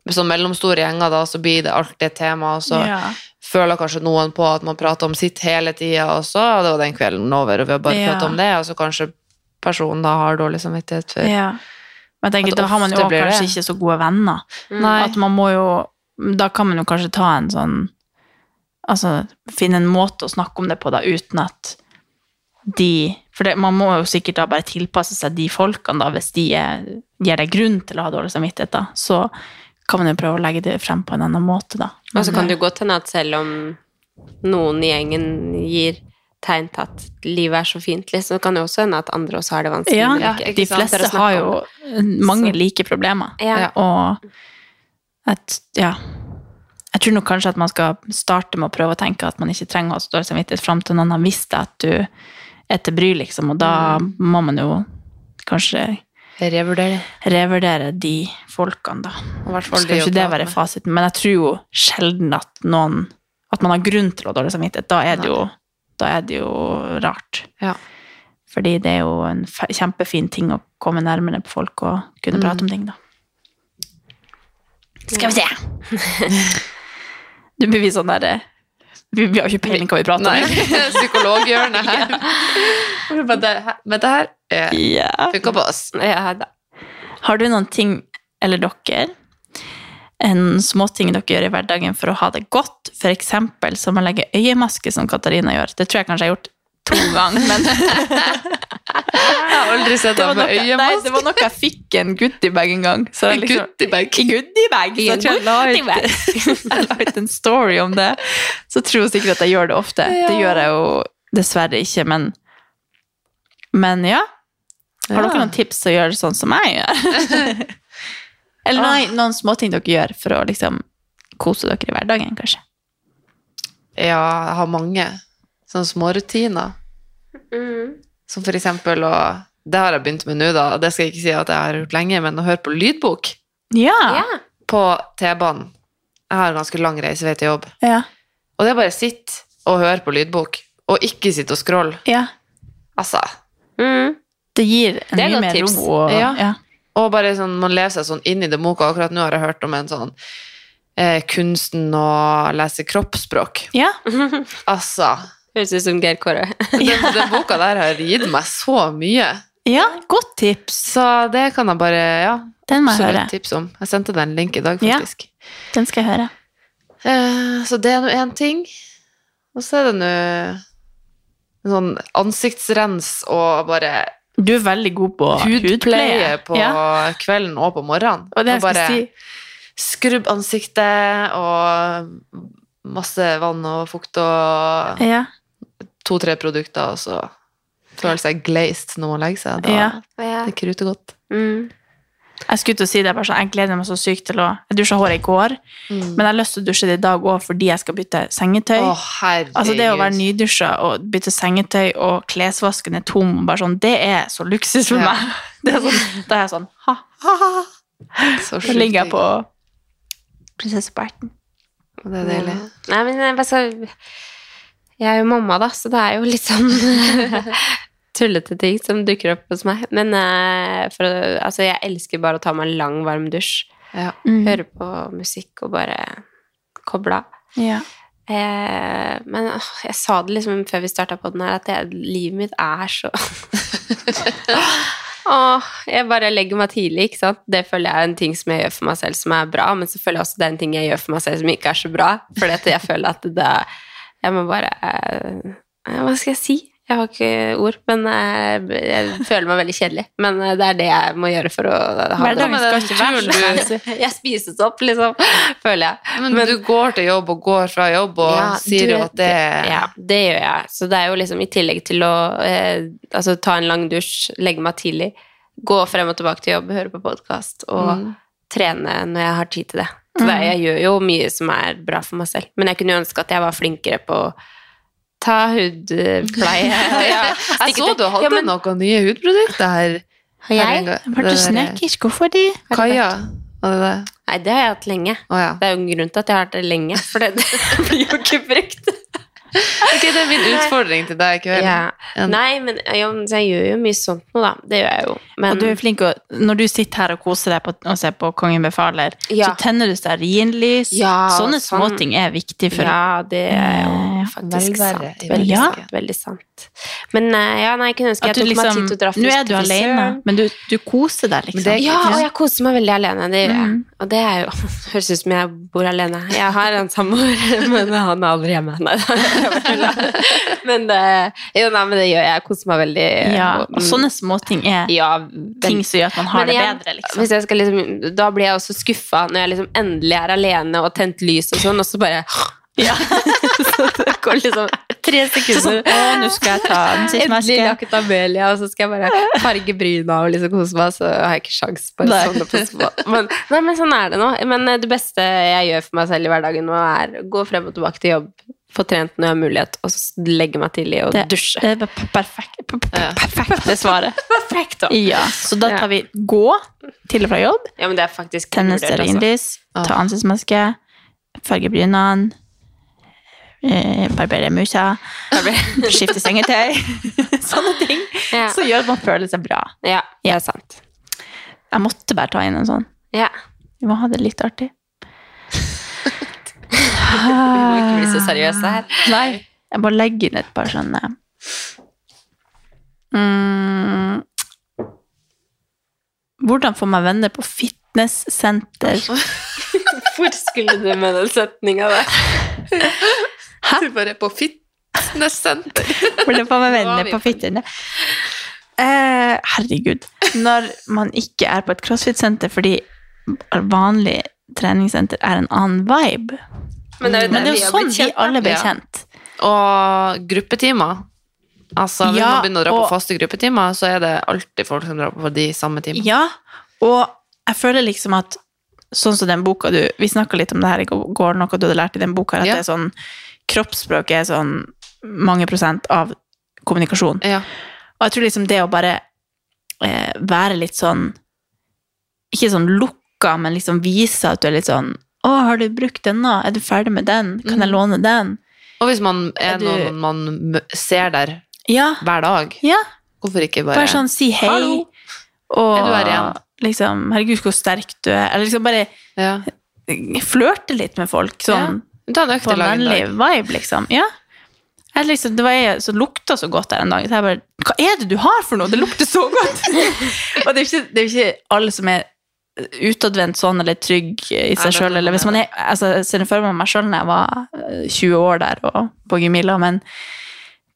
[SPEAKER 3] sånn mellomstore gjenger, da, så blir det alltid et tema, og så
[SPEAKER 1] ja.
[SPEAKER 3] føler kanskje noen på at man prater om sitt hele tida også, og det var den kvelden over, og vi har bare
[SPEAKER 1] Ja.
[SPEAKER 3] pratet om det, og så kanskje personen da har dårlig samvittighet for
[SPEAKER 1] Ja. Men jeg tenker,
[SPEAKER 3] At
[SPEAKER 1] da har man jo
[SPEAKER 3] ofte
[SPEAKER 1] også
[SPEAKER 3] blir det.
[SPEAKER 1] kanskje ikke så gode venner.
[SPEAKER 2] Mm.
[SPEAKER 3] Nei.
[SPEAKER 1] At man må jo, da kan man jo kanskje ta en sånn Altså finne en måte å snakke om det på, da, uten at de For det, man må jo sikkert da bare tilpasse seg de folkene, da, hvis de er, gir deg grunn til å ha dårlig samvittighet, da. Så kan man jo prøve å legge det frem på en annen måte, da.
[SPEAKER 2] Og så kan det jo godt hende at selv om noen i gjengen gir tegn til at livet er så fint, liksom, så kan det jo også hende at andre også har det vanskelig.
[SPEAKER 1] Ja,
[SPEAKER 2] men
[SPEAKER 3] ja,
[SPEAKER 2] ikke-
[SPEAKER 1] de
[SPEAKER 2] ikke sant? Dere
[SPEAKER 1] fleste
[SPEAKER 2] snakker
[SPEAKER 1] har
[SPEAKER 2] om
[SPEAKER 1] jo
[SPEAKER 2] det.
[SPEAKER 1] mange
[SPEAKER 2] Så-
[SPEAKER 1] like problemer.
[SPEAKER 2] ja.
[SPEAKER 3] Ja.
[SPEAKER 1] Og at, ja Jeg tror nok kanskje at man skal starte med å prøve å tenke at man ikke trenger å ha så dårlig samvittighet fram til noen har visst at du er til bry, liksom. Og da må man jo kanskje
[SPEAKER 3] Revurdere.
[SPEAKER 1] revurdere de folkene, da.
[SPEAKER 3] I hvert fall
[SPEAKER 1] Skal
[SPEAKER 3] de å
[SPEAKER 1] ikke det
[SPEAKER 3] prate
[SPEAKER 1] være
[SPEAKER 3] med.
[SPEAKER 1] fasiten, men jeg tror jo sjelden at noen At man har grunn til å ha dårlig samvittighet. Da er det jo, da er det jo rart.
[SPEAKER 3] Ja.
[SPEAKER 1] Fordi det er jo en fe- kjempefin ting å komme nærmere på folk og kunne
[SPEAKER 3] Mm.
[SPEAKER 1] prate om ting, da. Skal vi se. Du blir vi sånn der eh, vi, vi har jo ikke peiling hva vi prater
[SPEAKER 3] Nei,
[SPEAKER 1] om.
[SPEAKER 3] psykologhjørnet her. Men det, men det her eh,
[SPEAKER 1] Ja.
[SPEAKER 3] funker på oss.
[SPEAKER 2] Ja, da.
[SPEAKER 1] Har du noen ting, eller dere, en småting dere gjør i hverdagen for å ha det godt? For eksempel som å legge øyemaske, som Katarina gjør. Det tror jeg kanskje jeg har gjort to ganger, men
[SPEAKER 3] Jeg har aldri sett
[SPEAKER 1] det var noe,
[SPEAKER 3] deg med
[SPEAKER 1] nei, det
[SPEAKER 3] øyemask.
[SPEAKER 1] var noe jeg fikk i en goodiebag en gang. Så jeg
[SPEAKER 3] En
[SPEAKER 1] liksom,
[SPEAKER 3] goodiebag?
[SPEAKER 1] I goodiebag! Så
[SPEAKER 3] I en
[SPEAKER 1] jeg tror jeg la ut- jeg la ut en story om det. Så tror hun sikkert at jeg gjør det ofte. Det gjør jeg jo dessverre ikke, men Men ja. Har dere
[SPEAKER 3] Ja.
[SPEAKER 1] noen tips til å gjøre det sånn som jeg gjør? Eller nei, noen småting dere gjør for å liksom kose dere i hverdagen, kanskje?
[SPEAKER 3] Ja, jeg har mange sånne smårutiner.
[SPEAKER 2] Mm.
[SPEAKER 3] Som for eksempel å Det har jeg begynt med nå, da. og Det skal jeg ikke si at jeg har gjort lenge, men å høre på lydbok
[SPEAKER 1] Ja.
[SPEAKER 2] ja.
[SPEAKER 3] på T-banen. Jeg har en ganske lang reisevei til jobb.
[SPEAKER 1] Ja.
[SPEAKER 3] Og det er bare sitt og høre på lydbok, og ikke sitte og scrolle.
[SPEAKER 1] ja.
[SPEAKER 3] Altså.
[SPEAKER 2] Mm.
[SPEAKER 1] Det gir en
[SPEAKER 2] Det er
[SPEAKER 1] mye
[SPEAKER 2] godt
[SPEAKER 1] mer
[SPEAKER 2] tips.
[SPEAKER 1] ro. Og,
[SPEAKER 3] Ja. Og bare sånn, man lever seg sånn inn i det boka. Akkurat nå har jeg hørt om en sånn eh, kunsten å lese kroppsspråk.
[SPEAKER 1] ja.
[SPEAKER 3] Altså.
[SPEAKER 2] Høres ut som Geir Kåre.
[SPEAKER 3] Den, den boka der har gitt meg så mye.
[SPEAKER 1] ja. Godt tips.
[SPEAKER 3] Så det kan jeg bare ja,
[SPEAKER 1] Den må jeg høre.
[SPEAKER 3] absolutt tipse om. Jeg sendte deg en link i dag,
[SPEAKER 1] Ja.
[SPEAKER 3] faktisk.
[SPEAKER 1] Den skal jeg høre.
[SPEAKER 3] Eh, så det er nå én ting. Og så er det nå en sånn ansiktsrens og bare
[SPEAKER 1] Du er veldig god på
[SPEAKER 3] hudpleie på
[SPEAKER 1] Ja.
[SPEAKER 3] kvelden og på morgenen.
[SPEAKER 1] Og det jeg
[SPEAKER 3] bare
[SPEAKER 1] skulle si
[SPEAKER 3] skrubb ansiktet og masse vann og fukt og
[SPEAKER 1] ja.
[SPEAKER 3] to-tre produkter, og så føler seg glazed når man legger seg. Da
[SPEAKER 1] Ja.
[SPEAKER 2] Ja.
[SPEAKER 3] det kruter godt.
[SPEAKER 2] Mm.
[SPEAKER 1] Jeg skulle til å si det, bare sånn, jeg gleder meg så sykt til å Jeg dusja håret i går,
[SPEAKER 3] Mm.
[SPEAKER 1] men jeg har lyst til å dusje det i dag òg fordi jeg skal bytte sengetøy.
[SPEAKER 3] Å, herregud.
[SPEAKER 1] Altså Det å være nydusja og bytte sengetøy og klesvasken er tom, og bare sånn, det er så luksus for
[SPEAKER 3] Ja.
[SPEAKER 1] meg. Det er sånn, da er jeg sånn ha, ha, ha.
[SPEAKER 3] Så
[SPEAKER 1] Da
[SPEAKER 3] sjukt
[SPEAKER 1] ligger jeg
[SPEAKER 3] digg.
[SPEAKER 1] på prinsesse på erten.
[SPEAKER 3] Og Det er deilig.
[SPEAKER 1] Mm.
[SPEAKER 2] Nei, men jeg bare skal Jeg er jo mamma, da, så det er jo litt sånn tullete ting som dukker opp hos meg. Men eh, for, å- altså, jeg elsker bare å ta meg en lang, varm dusj.
[SPEAKER 3] Ja.
[SPEAKER 1] Mm.
[SPEAKER 2] Høre på musikk og bare koble av.
[SPEAKER 1] Ja.
[SPEAKER 2] Eh, men åh, jeg sa det liksom før vi starta på den her, at jeg, livet mitt er så Åh, jeg bare legger meg tidlig, ikke sant. Det føler jeg er en ting som jeg gjør for meg selv som er bra, men så føler jeg også det er en ting jeg gjør for meg selv som ikke er så bra. Fordi at jeg føler at det Jeg må bare eh, Hva skal jeg si? Jeg har ikke ord, men eh, jeg føler meg veldig kjedelig. Men eh, det er det jeg må gjøre for å ha det.
[SPEAKER 1] Hverdagen skal ikke være så fancy.
[SPEAKER 2] Jeg spises opp, liksom, føler jeg.
[SPEAKER 3] Men, du går til jobb og går fra jobb og
[SPEAKER 2] Ja,
[SPEAKER 3] sier
[SPEAKER 2] du-
[SPEAKER 3] jo at det er
[SPEAKER 2] Ja, det gjør jeg. Så det er jo liksom i tillegg til å eh, altså, ta en lang dusj, legge meg tidlig, gå frem og tilbake til jobb, høre på podkast og
[SPEAKER 3] Mm.
[SPEAKER 2] trene når jeg har tid til det. For det- jeg gjør jo mye som er bra for meg selv. Men jeg kunne jo ønske at jeg var flinkere på å ta hudpleie. ja,
[SPEAKER 3] Jeg så du hadde
[SPEAKER 2] ja, men,
[SPEAKER 3] noen nye hudprodukter her.
[SPEAKER 2] Har jeg?
[SPEAKER 3] Her en gang.
[SPEAKER 1] Ble du
[SPEAKER 3] Det der-
[SPEAKER 1] snekkers? Hvorfor de?
[SPEAKER 3] Kaja. Var det det?
[SPEAKER 2] Nei, det har jeg hatt lenge.
[SPEAKER 3] Å ja.
[SPEAKER 2] Det er jo en grunn til at jeg har hatt det lenge, for det, det blir jo ikke brukt.
[SPEAKER 3] Ok, det er min utfordring til deg i kveld.
[SPEAKER 2] Ja.
[SPEAKER 3] En-
[SPEAKER 2] Nei, men ja, men jeg gjør jo mye sånt nå, da. Det gjør jeg jo. Men
[SPEAKER 1] Og du er flink å, når du sitter her og koser deg på, og ser på Kongen befaler,
[SPEAKER 2] Ja.
[SPEAKER 1] så tenner du stearinlys.
[SPEAKER 2] Ja,
[SPEAKER 1] Sånne
[SPEAKER 2] sånn.
[SPEAKER 1] småting er viktig for
[SPEAKER 2] Ja, det er jo
[SPEAKER 1] Eh,
[SPEAKER 2] faktisk
[SPEAKER 3] velvære
[SPEAKER 2] sant.
[SPEAKER 3] i
[SPEAKER 2] Veldig,
[SPEAKER 1] Ja.
[SPEAKER 2] sant. veldig sant. Men eh, ja, nei, jeg kunne ønske
[SPEAKER 1] at
[SPEAKER 2] jeg
[SPEAKER 1] du
[SPEAKER 2] tok meg
[SPEAKER 1] liksom
[SPEAKER 2] tid til å
[SPEAKER 1] Nå
[SPEAKER 2] dra
[SPEAKER 1] er du
[SPEAKER 2] til frisøren.
[SPEAKER 1] alene, men du, du koser deg,
[SPEAKER 3] Men
[SPEAKER 1] liksom.
[SPEAKER 3] det-
[SPEAKER 2] Ja, og jeg koser meg veldig alene. Det gjør jeg.
[SPEAKER 1] Mm.
[SPEAKER 2] Og det er jo Høres ut som jeg bor alene. Jeg har en samboer, men han er aldri hjemme. Nei, jeg bare tuller. men, eh, jo, nei, men det gjør jeg. Jeg koser meg veldig. eh, Mm,
[SPEAKER 1] ja, og sånne småting er
[SPEAKER 2] ja,
[SPEAKER 1] ting som gjør at man har
[SPEAKER 2] Men
[SPEAKER 1] det
[SPEAKER 2] igjen,
[SPEAKER 1] bedre, liksom.
[SPEAKER 2] Hvis jeg skal liksom, da blir jeg også skuffa når jeg liksom endelig er alene og har tent lys og sånn, og så bare
[SPEAKER 1] Ja.
[SPEAKER 2] Så det går liksom tre
[SPEAKER 1] Sånn,
[SPEAKER 2] sekunder.
[SPEAKER 1] å, nå skal jeg ta
[SPEAKER 2] Endelig
[SPEAKER 1] ansiktsmaske.
[SPEAKER 2] lakket Amelia, og så skal jeg bare farge bryna og liksom kose meg, så har jeg ikke sjans på å
[SPEAKER 1] Nei.
[SPEAKER 2] sovne på sofa. Men, nei, men sånn er det nå. Men eh, det beste jeg gjør for meg selv i hverdagen nå, er å gå frem og tilbake til jobb, få trent når jeg har mulighet, og så legge meg tidlig og
[SPEAKER 1] Det-
[SPEAKER 2] dusje.
[SPEAKER 1] Det er per- perfekt, per-
[SPEAKER 3] Ja.
[SPEAKER 1] per- perfekte svaret.
[SPEAKER 2] Perfekt, da.
[SPEAKER 1] Ja, så da
[SPEAKER 2] Ja.
[SPEAKER 1] tar vi gå til og fra jobb,
[SPEAKER 2] Ja, men det er faktisk
[SPEAKER 1] tenne
[SPEAKER 2] vurdert, altså.
[SPEAKER 1] stearinlys,
[SPEAKER 3] Ja.
[SPEAKER 1] ta ansiktsmaske, farge brynene, eh, barbere musa, skifte sengetøy. Sånne ting.
[SPEAKER 2] Ja.
[SPEAKER 1] Så gjør at man føler seg bra.
[SPEAKER 2] Ja, det er sant.
[SPEAKER 1] Jeg måtte bare ta inn en sånn.
[SPEAKER 2] Ja.
[SPEAKER 1] Vi må ha det litt artig. Vi
[SPEAKER 2] Vi må ikke bli så seriøse her.
[SPEAKER 1] Nei, jeg må legge inn et par sånne mm. Hvordan få meg venner på fitnesssenter?
[SPEAKER 2] Hvor skulle du med den setninga der?
[SPEAKER 3] Du bare på fitnesssenter.
[SPEAKER 1] Hvordan få meg
[SPEAKER 3] Nå er
[SPEAKER 1] venner
[SPEAKER 3] vi
[SPEAKER 1] på
[SPEAKER 3] på-
[SPEAKER 1] fitness? Eh, herregud. Når man ikke er på et crossfit-senter fordi vanlig treningssenter er en annen vibe.
[SPEAKER 2] Men det er jo, der
[SPEAKER 1] Men det er
[SPEAKER 2] vi
[SPEAKER 1] jo
[SPEAKER 2] har
[SPEAKER 1] sånn
[SPEAKER 2] blitt
[SPEAKER 1] vi
[SPEAKER 2] kjent, da.
[SPEAKER 1] alle ble
[SPEAKER 3] Ja.
[SPEAKER 1] kjent.
[SPEAKER 3] Og gruppetimer. Altså, Hvis
[SPEAKER 1] Ja,
[SPEAKER 3] man begynner å dra på
[SPEAKER 1] og-
[SPEAKER 3] faste gruppetimer, så er det alltid folk som drar på de samme timene.
[SPEAKER 1] Ja, og jeg føler liksom at sånn som den boka du Vi snakka litt om det her i går, noe du hadde lært i den boka, at
[SPEAKER 3] Ja.
[SPEAKER 1] det er sånn Kroppsspråk er sånn mange prosent av kommunikasjon.
[SPEAKER 3] Ja.
[SPEAKER 1] Og jeg tror liksom det å bare eh, være litt sånn Ikke sånn lukka, men liksom vise at du er litt sånn Å, har du brukt den nå? Er du ferdig med den? Kan jeg
[SPEAKER 3] Mm.
[SPEAKER 1] låne den?
[SPEAKER 3] Og hvis man er,
[SPEAKER 1] Er du-
[SPEAKER 3] noen man mø- ser der
[SPEAKER 1] Ja.
[SPEAKER 3] hver dag,
[SPEAKER 1] ja.
[SPEAKER 3] hvorfor ikke bare,
[SPEAKER 1] Bare sånn si hei.
[SPEAKER 3] Hallo.
[SPEAKER 1] Og
[SPEAKER 3] Er du her igjen?
[SPEAKER 1] liksom Herregud, hvor sterk du er. Eller liksom bare eh,
[SPEAKER 3] ja.
[SPEAKER 1] flørte litt med folk. Sånn
[SPEAKER 3] Ta en
[SPEAKER 1] på
[SPEAKER 3] økt i
[SPEAKER 1] en
[SPEAKER 3] lag en
[SPEAKER 1] vennlig
[SPEAKER 3] dag.
[SPEAKER 1] vibe, liksom. Ja. Jeg liksom, det var jeg som lukta så godt der en dag. Så jeg bare Hva er det du har for noe? Det lukter så godt! og det er jo ikke, det er jo ikke alle som er utadvendt sånn eller trygg i
[SPEAKER 3] Nei,
[SPEAKER 1] seg
[SPEAKER 3] det
[SPEAKER 1] sjøl.
[SPEAKER 3] kan
[SPEAKER 1] Eller hvis man er altså, Jeg ser det for meg meg sjøl da jeg var eh, 20 år der og på Gemilla, men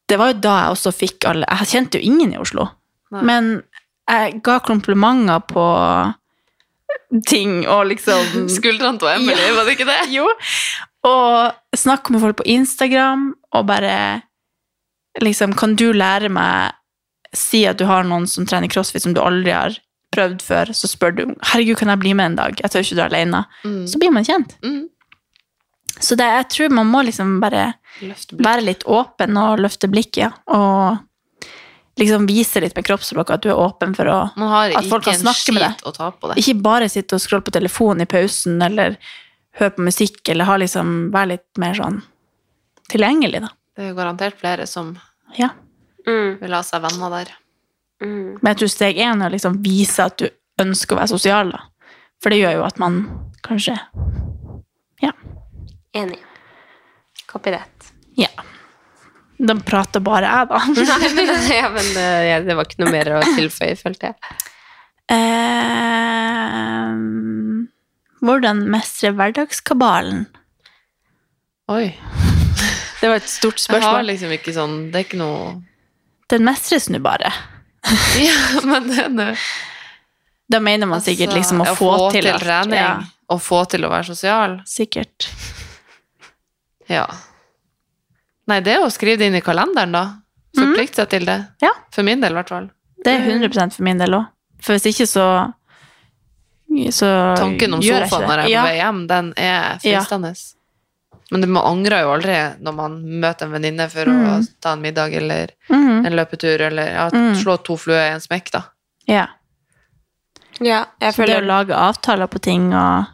[SPEAKER 1] det var jo da jeg også fikk alle Jeg kjente jo ingen i Oslo.
[SPEAKER 3] Nei.
[SPEAKER 1] Men jeg ga komplimenter på ting og liksom
[SPEAKER 3] Mm. Skuldrene til Emily, var det ikke det?
[SPEAKER 1] jo. Og snakke med folk på Instagram, og bare liksom, Kan du lære meg Si at du har noen som trener crossfit som du aldri har prøvd før, så spør du herregud, kan jeg bli med en dag. Jeg tør ikke dra alene.
[SPEAKER 3] Mm.
[SPEAKER 1] Så blir man kjent.
[SPEAKER 3] Mm.
[SPEAKER 1] Så det, jeg tror man må liksom bare
[SPEAKER 3] Mm. Løft blikk.
[SPEAKER 1] være litt åpen og løfte blikket, ja. og liksom vise litt med kroppsspråket at du er åpen for å
[SPEAKER 3] Man har
[SPEAKER 1] At folk
[SPEAKER 3] ikke
[SPEAKER 1] kan
[SPEAKER 3] en
[SPEAKER 1] snakke med
[SPEAKER 3] skit å ta på det.
[SPEAKER 1] Ikke bare sitte og scrolle på telefonen i pausen, eller høre på musikk, eller ha liksom, være litt mer sånn tilgjengelig, da.
[SPEAKER 3] Det er jo garantert flere som
[SPEAKER 1] Ja.
[SPEAKER 2] Mm,
[SPEAKER 3] vil ha seg venner der.
[SPEAKER 2] mm.
[SPEAKER 1] Men jeg tror steg én er å liksom vise at du ønsker å være sosial, da. For det gjør jo at man kanskje
[SPEAKER 2] Mm. Enig. Copy that.
[SPEAKER 1] Ja. Da prater bare jeg, da.
[SPEAKER 2] Nei, men, ja, men eh, ja, det var ikke noe mer å tilføye, følte jeg.
[SPEAKER 1] Eh, hvordan mestre hverdagskabalen?
[SPEAKER 3] Oi.
[SPEAKER 1] Det var et stort
[SPEAKER 3] Jeg har
[SPEAKER 1] spørsmål.
[SPEAKER 3] liksom ikke sånn Det er ikke noe
[SPEAKER 1] Den mestres nå bare.
[SPEAKER 3] Ja, men det er noe
[SPEAKER 1] Da mener man sikkert
[SPEAKER 3] Altså,
[SPEAKER 1] liksom å, få, til, alt.
[SPEAKER 3] trening.
[SPEAKER 1] Ja,
[SPEAKER 3] Å få til å være sosial.
[SPEAKER 1] sikkert.
[SPEAKER 3] Ja. Nei, det er jo å skrive det inn i kalenderen, da. Forplikte seg til det.
[SPEAKER 1] Mhm. Ja.
[SPEAKER 3] For min del, i hvert fall.
[SPEAKER 1] Det er 100 for min del òg. For hvis ikke, så, så
[SPEAKER 3] Tanken om
[SPEAKER 1] gjør jeg
[SPEAKER 3] sofaen
[SPEAKER 1] ikke
[SPEAKER 3] når
[SPEAKER 1] det.
[SPEAKER 3] jeg er
[SPEAKER 1] ja.
[SPEAKER 3] på vei hjem, den er fristende. Men det- man angrer jo aldri når man møter en venninne for å
[SPEAKER 1] Mm.
[SPEAKER 3] ta en middag eller
[SPEAKER 1] Mhm.
[SPEAKER 3] en løpetur, eller ja,
[SPEAKER 1] Mm.
[SPEAKER 3] slå to fluer i en smekk, da.
[SPEAKER 1] ja.
[SPEAKER 2] Ja, jeg
[SPEAKER 1] Så det
[SPEAKER 2] føler
[SPEAKER 1] å lage avtaler på ting og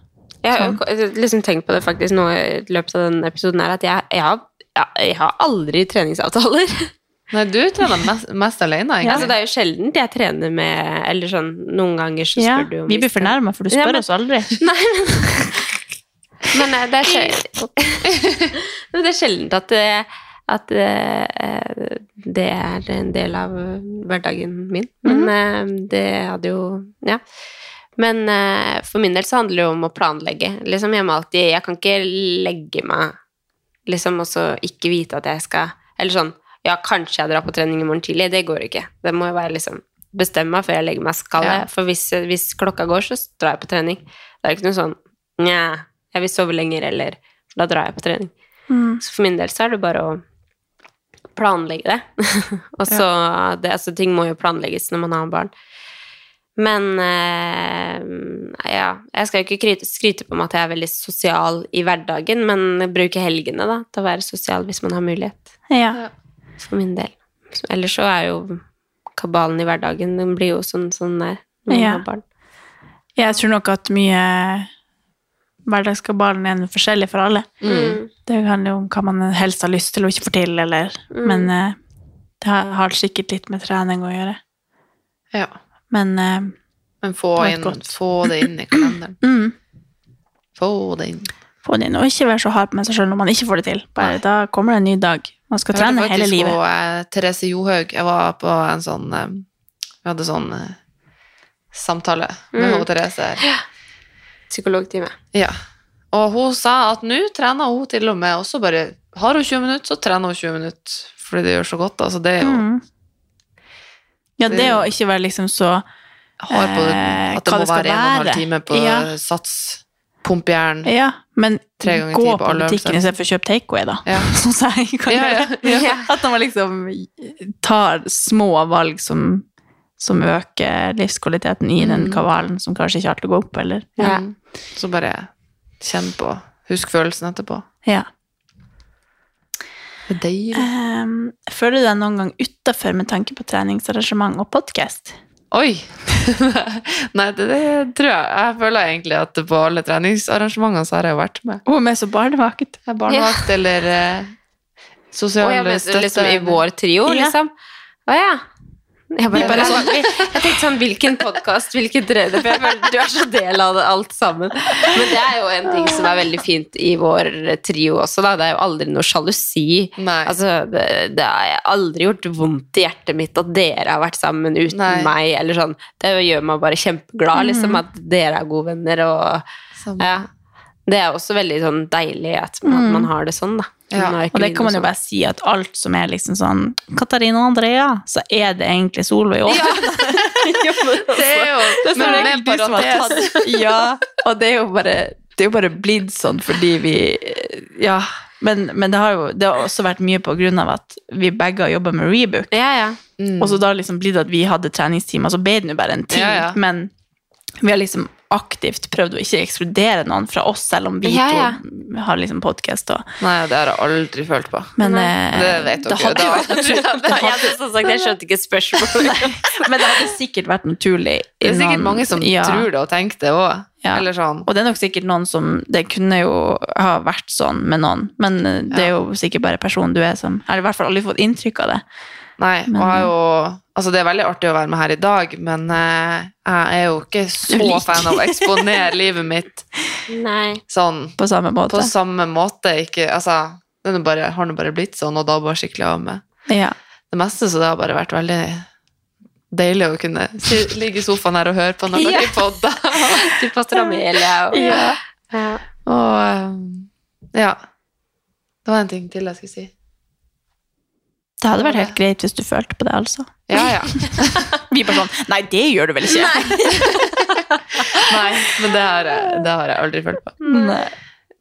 [SPEAKER 2] Jeg har jo liksom tenkt på det faktisk nå i løpet av denne episoden her, at jeg, jeg har ja, jeg har aldri treningsavtaler.
[SPEAKER 3] Nei, du trener mest, mest alene, egentlig.
[SPEAKER 2] Altså, det er jo sjelden jeg trener med Eller sånn, noen ganger så
[SPEAKER 1] Ja,
[SPEAKER 2] spør du om
[SPEAKER 1] vi blir fornærma, for du
[SPEAKER 2] Ja,
[SPEAKER 1] spør
[SPEAKER 2] men-
[SPEAKER 1] oss aldri.
[SPEAKER 2] Men eh, det er sjelden Men det er sjeldent at, eh, at eh, det er en del av hverdagen min. Men eh, det hadde jo Ja. Men eh, for min del så handler det jo om å planlegge. Liksom Jeg må alltid Jeg kan ikke legge meg liksom og så ikke vite at jeg skal Eller sånn Ja, kanskje jeg drar på trening i morgen tidlig. Det går ikke. Det må jo være liksom Bestemme meg før jeg legger meg. Skal jeg?
[SPEAKER 3] Ja.
[SPEAKER 2] For hvis, hvis klokka går, så drar jeg på trening. Det er ikke noe sånn Nja, jeg vil sove lenger, eller Da drar jeg på trening.
[SPEAKER 1] Mm.
[SPEAKER 2] Så for min del så er det bare å planlegge det. og så det, altså, Ting må jo planlegges når man har barn. Men eh, ja, jeg skal jo ikke kryte- skryte på meg at jeg er veldig sosial i hverdagen, men bruke helgene da, til å være sosial hvis man har mulighet,
[SPEAKER 1] Ja.
[SPEAKER 2] for min del. Så- Ellers så er jo kabalen i hverdagen, den blir jo sånn sånn der når man
[SPEAKER 1] Ja.
[SPEAKER 2] har barn.
[SPEAKER 1] Jeg tror nok at mye hverdagskabalen er forskjellig for alle.
[SPEAKER 2] Mm.
[SPEAKER 1] Det handler jo om hva man helst har lyst til og ikke får til, eller
[SPEAKER 2] Mm.
[SPEAKER 1] Men eh, det har har sikkert litt med trening å gjøre.
[SPEAKER 3] Ja.
[SPEAKER 1] Men eh,
[SPEAKER 3] Men få,
[SPEAKER 1] Det var
[SPEAKER 3] inn,
[SPEAKER 1] godt.
[SPEAKER 3] få det inn i kalenderen.
[SPEAKER 1] mm,
[SPEAKER 3] Få det inn.
[SPEAKER 1] få det inn. Og ikke være så hard med seg sjøl når man ikke får det til. Bare,
[SPEAKER 3] Nei.
[SPEAKER 1] da kommer det en ny dag. Man skal
[SPEAKER 3] Jeg hørte
[SPEAKER 1] trene hele
[SPEAKER 3] faktisk
[SPEAKER 1] livet.
[SPEAKER 3] På, eh, Therese Johaug. Jeg var på en sånn eh, Vi hadde sånn eh, samtale med
[SPEAKER 2] Mm.
[SPEAKER 3] hun Therese her.
[SPEAKER 2] Psykologtime.
[SPEAKER 3] Ja. Og hun sa at nå trener hun til og med også bare Har hun 20 minutter, så trener hun 20 minutter. Fordi det gjør så godt. Altså, det er jo
[SPEAKER 1] Mm. Ja, det å ikke være liksom så
[SPEAKER 3] hard på det,
[SPEAKER 1] Eh,
[SPEAKER 3] at det
[SPEAKER 1] hva
[SPEAKER 3] må
[SPEAKER 1] det skal
[SPEAKER 3] være en og en halv
[SPEAKER 1] være.
[SPEAKER 3] time på
[SPEAKER 1] Ja.
[SPEAKER 3] eh, sats, pumpejern.
[SPEAKER 1] Ja, men
[SPEAKER 3] Tre ganger ti
[SPEAKER 1] gå
[SPEAKER 3] på
[SPEAKER 1] på
[SPEAKER 3] alle
[SPEAKER 1] butikken
[SPEAKER 3] øvelser.
[SPEAKER 1] istedenfor å kjøpe takeaway, da.
[SPEAKER 3] Ja.
[SPEAKER 1] Sånn som jeg kan
[SPEAKER 3] Ja,
[SPEAKER 1] gjøre.
[SPEAKER 3] ja, ja.
[SPEAKER 1] At man liksom tar små valg som, som øker livskvaliteten i den
[SPEAKER 3] Mm.
[SPEAKER 1] kavalen som kanskje ikke har til å gå opp, eller?
[SPEAKER 2] Ja.
[SPEAKER 3] Mm. Så bare kjenn på Husk følelsen etterpå.
[SPEAKER 1] Ja.
[SPEAKER 3] Det er deilig.
[SPEAKER 1] Ehm, føler du deg noen gang utafor med tanke på treningsarrangement og podkast?
[SPEAKER 3] Oi! Nei, det, det tror jeg. Jeg føler egentlig at på alle treningsarrangementene så har jeg jo vært med.
[SPEAKER 1] Hun er så barnevakt.
[SPEAKER 3] Jeg er barnevakt eller eh,
[SPEAKER 2] Å,
[SPEAKER 3] sosial
[SPEAKER 2] jeg vet,
[SPEAKER 3] støtte.
[SPEAKER 2] liksom i vår trio,
[SPEAKER 1] Ja.
[SPEAKER 2] liksom. Å ja. Jeg, bare,
[SPEAKER 3] Vi bare sånn-
[SPEAKER 2] jeg tenkte sånn, hvilken podkast, hvilken tredje, for jeg føler du er så del av det, alt sammen. Men det er jo en ting som er veldig fint i vår trio også, da. Det er jo aldri noe sjalusi.
[SPEAKER 3] Nei.
[SPEAKER 2] Altså, det, det har aldri gjort vondt i hjertet mitt at dere har vært sammen uten
[SPEAKER 3] Nei.
[SPEAKER 2] meg, eller sånn. Det gjør meg bare kjempeglad, liksom, at dere er gode venner, og
[SPEAKER 3] Som-
[SPEAKER 2] ja. Det er også veldig sånn deilig at man,
[SPEAKER 1] Mm.
[SPEAKER 2] man har det sånn, da.
[SPEAKER 3] Ja,
[SPEAKER 2] Man har ikke
[SPEAKER 1] Og det kan
[SPEAKER 2] noe
[SPEAKER 1] man jo
[SPEAKER 2] sånn-
[SPEAKER 1] bare si at alt som er liksom sånn Katarina og Andrea, så er det egentlig Solveig òg.
[SPEAKER 3] Det er jo
[SPEAKER 1] Det
[SPEAKER 3] men
[SPEAKER 1] står
[SPEAKER 3] med
[SPEAKER 1] egentlig du som har
[SPEAKER 3] parentes.
[SPEAKER 1] tatt Ja, og det er jo bare det er jo bare blitt sånn fordi vi Ja. Men, men det har jo det har også vært mye på grunn av at vi begge har jobba med Rebook.
[SPEAKER 2] Ja, ja.
[SPEAKER 3] Mm.
[SPEAKER 1] Og så da liksom blitt at vi hadde treningstimer, så ble det jo bare en ting.
[SPEAKER 3] Ja, ja.
[SPEAKER 1] Men vi har liksom aktivt prøvd å ikke ekskludere noen fra oss, selv om vi
[SPEAKER 2] Ja, ja.
[SPEAKER 1] to har liksom podkast og
[SPEAKER 3] Nei, det har jeg aldri følt på.
[SPEAKER 1] Men
[SPEAKER 2] Nei.
[SPEAKER 1] eh,
[SPEAKER 3] Mm. Det vet dere.
[SPEAKER 1] det hadde
[SPEAKER 3] Det
[SPEAKER 1] jo
[SPEAKER 3] var-
[SPEAKER 1] vært naturlig.
[SPEAKER 2] Jeg hadde sånn sagt, jeg skjønte ikke spørsmålet.
[SPEAKER 1] Men det hadde sikkert vært naturlig.
[SPEAKER 3] Det er sikkert mange som tror det og tenker det òg.
[SPEAKER 1] Ja.
[SPEAKER 3] Eller sånn.
[SPEAKER 1] Og det er nok sikkert noen som Det kunne jo ha vært sånn med noen, men eh, det er jo sikkert bare personen du er som Eller i hvert fall aldri fått inntrykk av det.
[SPEAKER 3] Nei, og
[SPEAKER 1] Men-
[SPEAKER 3] jeg er jo Altså, det er veldig artig å være med her i dag, men eh, jeg er jo ikke så
[SPEAKER 1] Du liker-
[SPEAKER 3] fan av å eksponere livet mitt
[SPEAKER 2] Nei.
[SPEAKER 3] sånn
[SPEAKER 1] På samme måte.
[SPEAKER 3] på samme måte. Ikke, altså, det er nå bare, har nå bare blitt sånn, og da bare skikkelig av med
[SPEAKER 1] Ja.
[SPEAKER 3] det meste. Så det har bare vært veldig deilig å kunne si, ligge i sofaen her og høre på når
[SPEAKER 2] Ja.
[SPEAKER 3] dere podder.
[SPEAKER 2] Du passer Amelia og
[SPEAKER 1] Ja.
[SPEAKER 2] Ja.
[SPEAKER 3] Og eh, ja. Det var en ting til jeg skulle si.
[SPEAKER 1] Det hadde vært helt greit hvis du følte på det, altså.
[SPEAKER 3] Ja, ja.
[SPEAKER 1] Vi bare sånn Nei, det gjør du vel ikke?
[SPEAKER 3] Nei, men det har jeg, det har jeg aldri følt på.
[SPEAKER 1] Nei.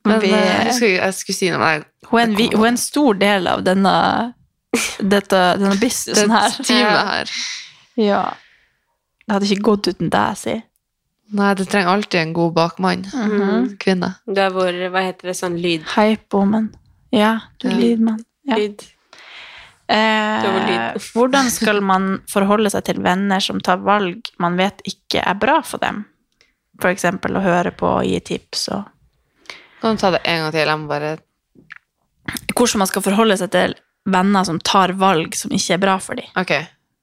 [SPEAKER 3] Men
[SPEAKER 1] vi,
[SPEAKER 3] eh, jeg, husker, jeg skulle si noe, men jeg
[SPEAKER 1] hun, er en, vi- hun er en stor del av denne, dette, denne businessen Sånn her.
[SPEAKER 3] det teamet her.
[SPEAKER 1] Ja. Det hadde ikke gått uten deg, si.
[SPEAKER 3] Nei, det trenger alltid en god bakmann. Kvinne.
[SPEAKER 2] Du er vår, hva heter det, sånn lyd?
[SPEAKER 1] Hype-woman. Ja, du
[SPEAKER 3] Ja.
[SPEAKER 1] er lydmann. Ja.
[SPEAKER 2] lyd. Det var
[SPEAKER 1] Eh,
[SPEAKER 2] lyd.
[SPEAKER 1] hvordan skal man forholde seg til venner som tar valg man vet ikke er bra for dem? For eksempel å høre på og gi tips og
[SPEAKER 3] Kan du ta det en gang til? Jeg må bare
[SPEAKER 1] hvordan man skal forholde seg til venner som tar valg som ikke er bra for dem.
[SPEAKER 3] Ok.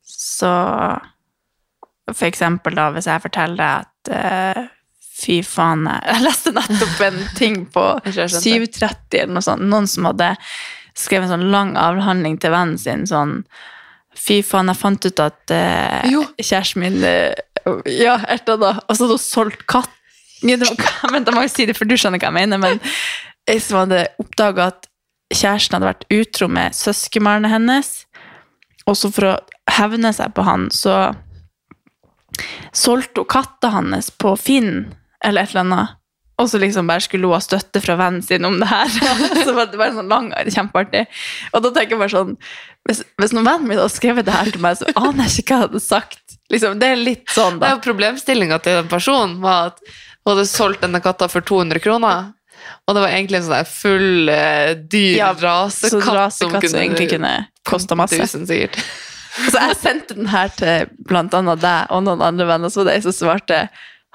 [SPEAKER 1] Så for eksempel da, hvis jeg forteller deg at eh, fy faen, jeg jeg leste nettopp en ting på
[SPEAKER 3] Jeg tror jeg skjønte.
[SPEAKER 1] 7.30 eller noe sånt, noen som hadde skrevet en sånn lang avhandling til vennen sin, sånn, fy faen, jeg fant ut at eh,
[SPEAKER 3] Jo.
[SPEAKER 1] kjæresten min, eh, ja, et eller annet, og så hadde hun solgt katt. Ja, det var- Vent, jeg må jo si det, for du skjønner hva jeg mener, men jeg som hadde oppdaget at kjæresten hadde vært utro med søskemarene hennes, og så for å hevne seg på han, så solgte hun katta hans på Finn, eller et eller annet. Og så liksom bare skulle hun ha støtte fra vennen sin om det her. så var det bare sånn lang, kjempeartig. Og da tenker jeg bare sånn, hvis, hvis noen vennen min hadde skrevet det her til meg, så aner jeg ikke hva jeg hadde sagt. Liksom, det er litt sånn
[SPEAKER 3] Det
[SPEAKER 1] da.
[SPEAKER 3] er jo problemstillinga til den personen var at hun hadde solgt denne katta for 200 kroner. Og det var egentlig en sånn der full, eh, dyr
[SPEAKER 1] Ja,
[SPEAKER 3] rasekatt,
[SPEAKER 1] Så rasekatt som egentlig kunne kosta masse.
[SPEAKER 3] Tusen sikkert.
[SPEAKER 1] Så jeg sendte den her til blant annet deg og noen andre venner, så var det jeg som svarte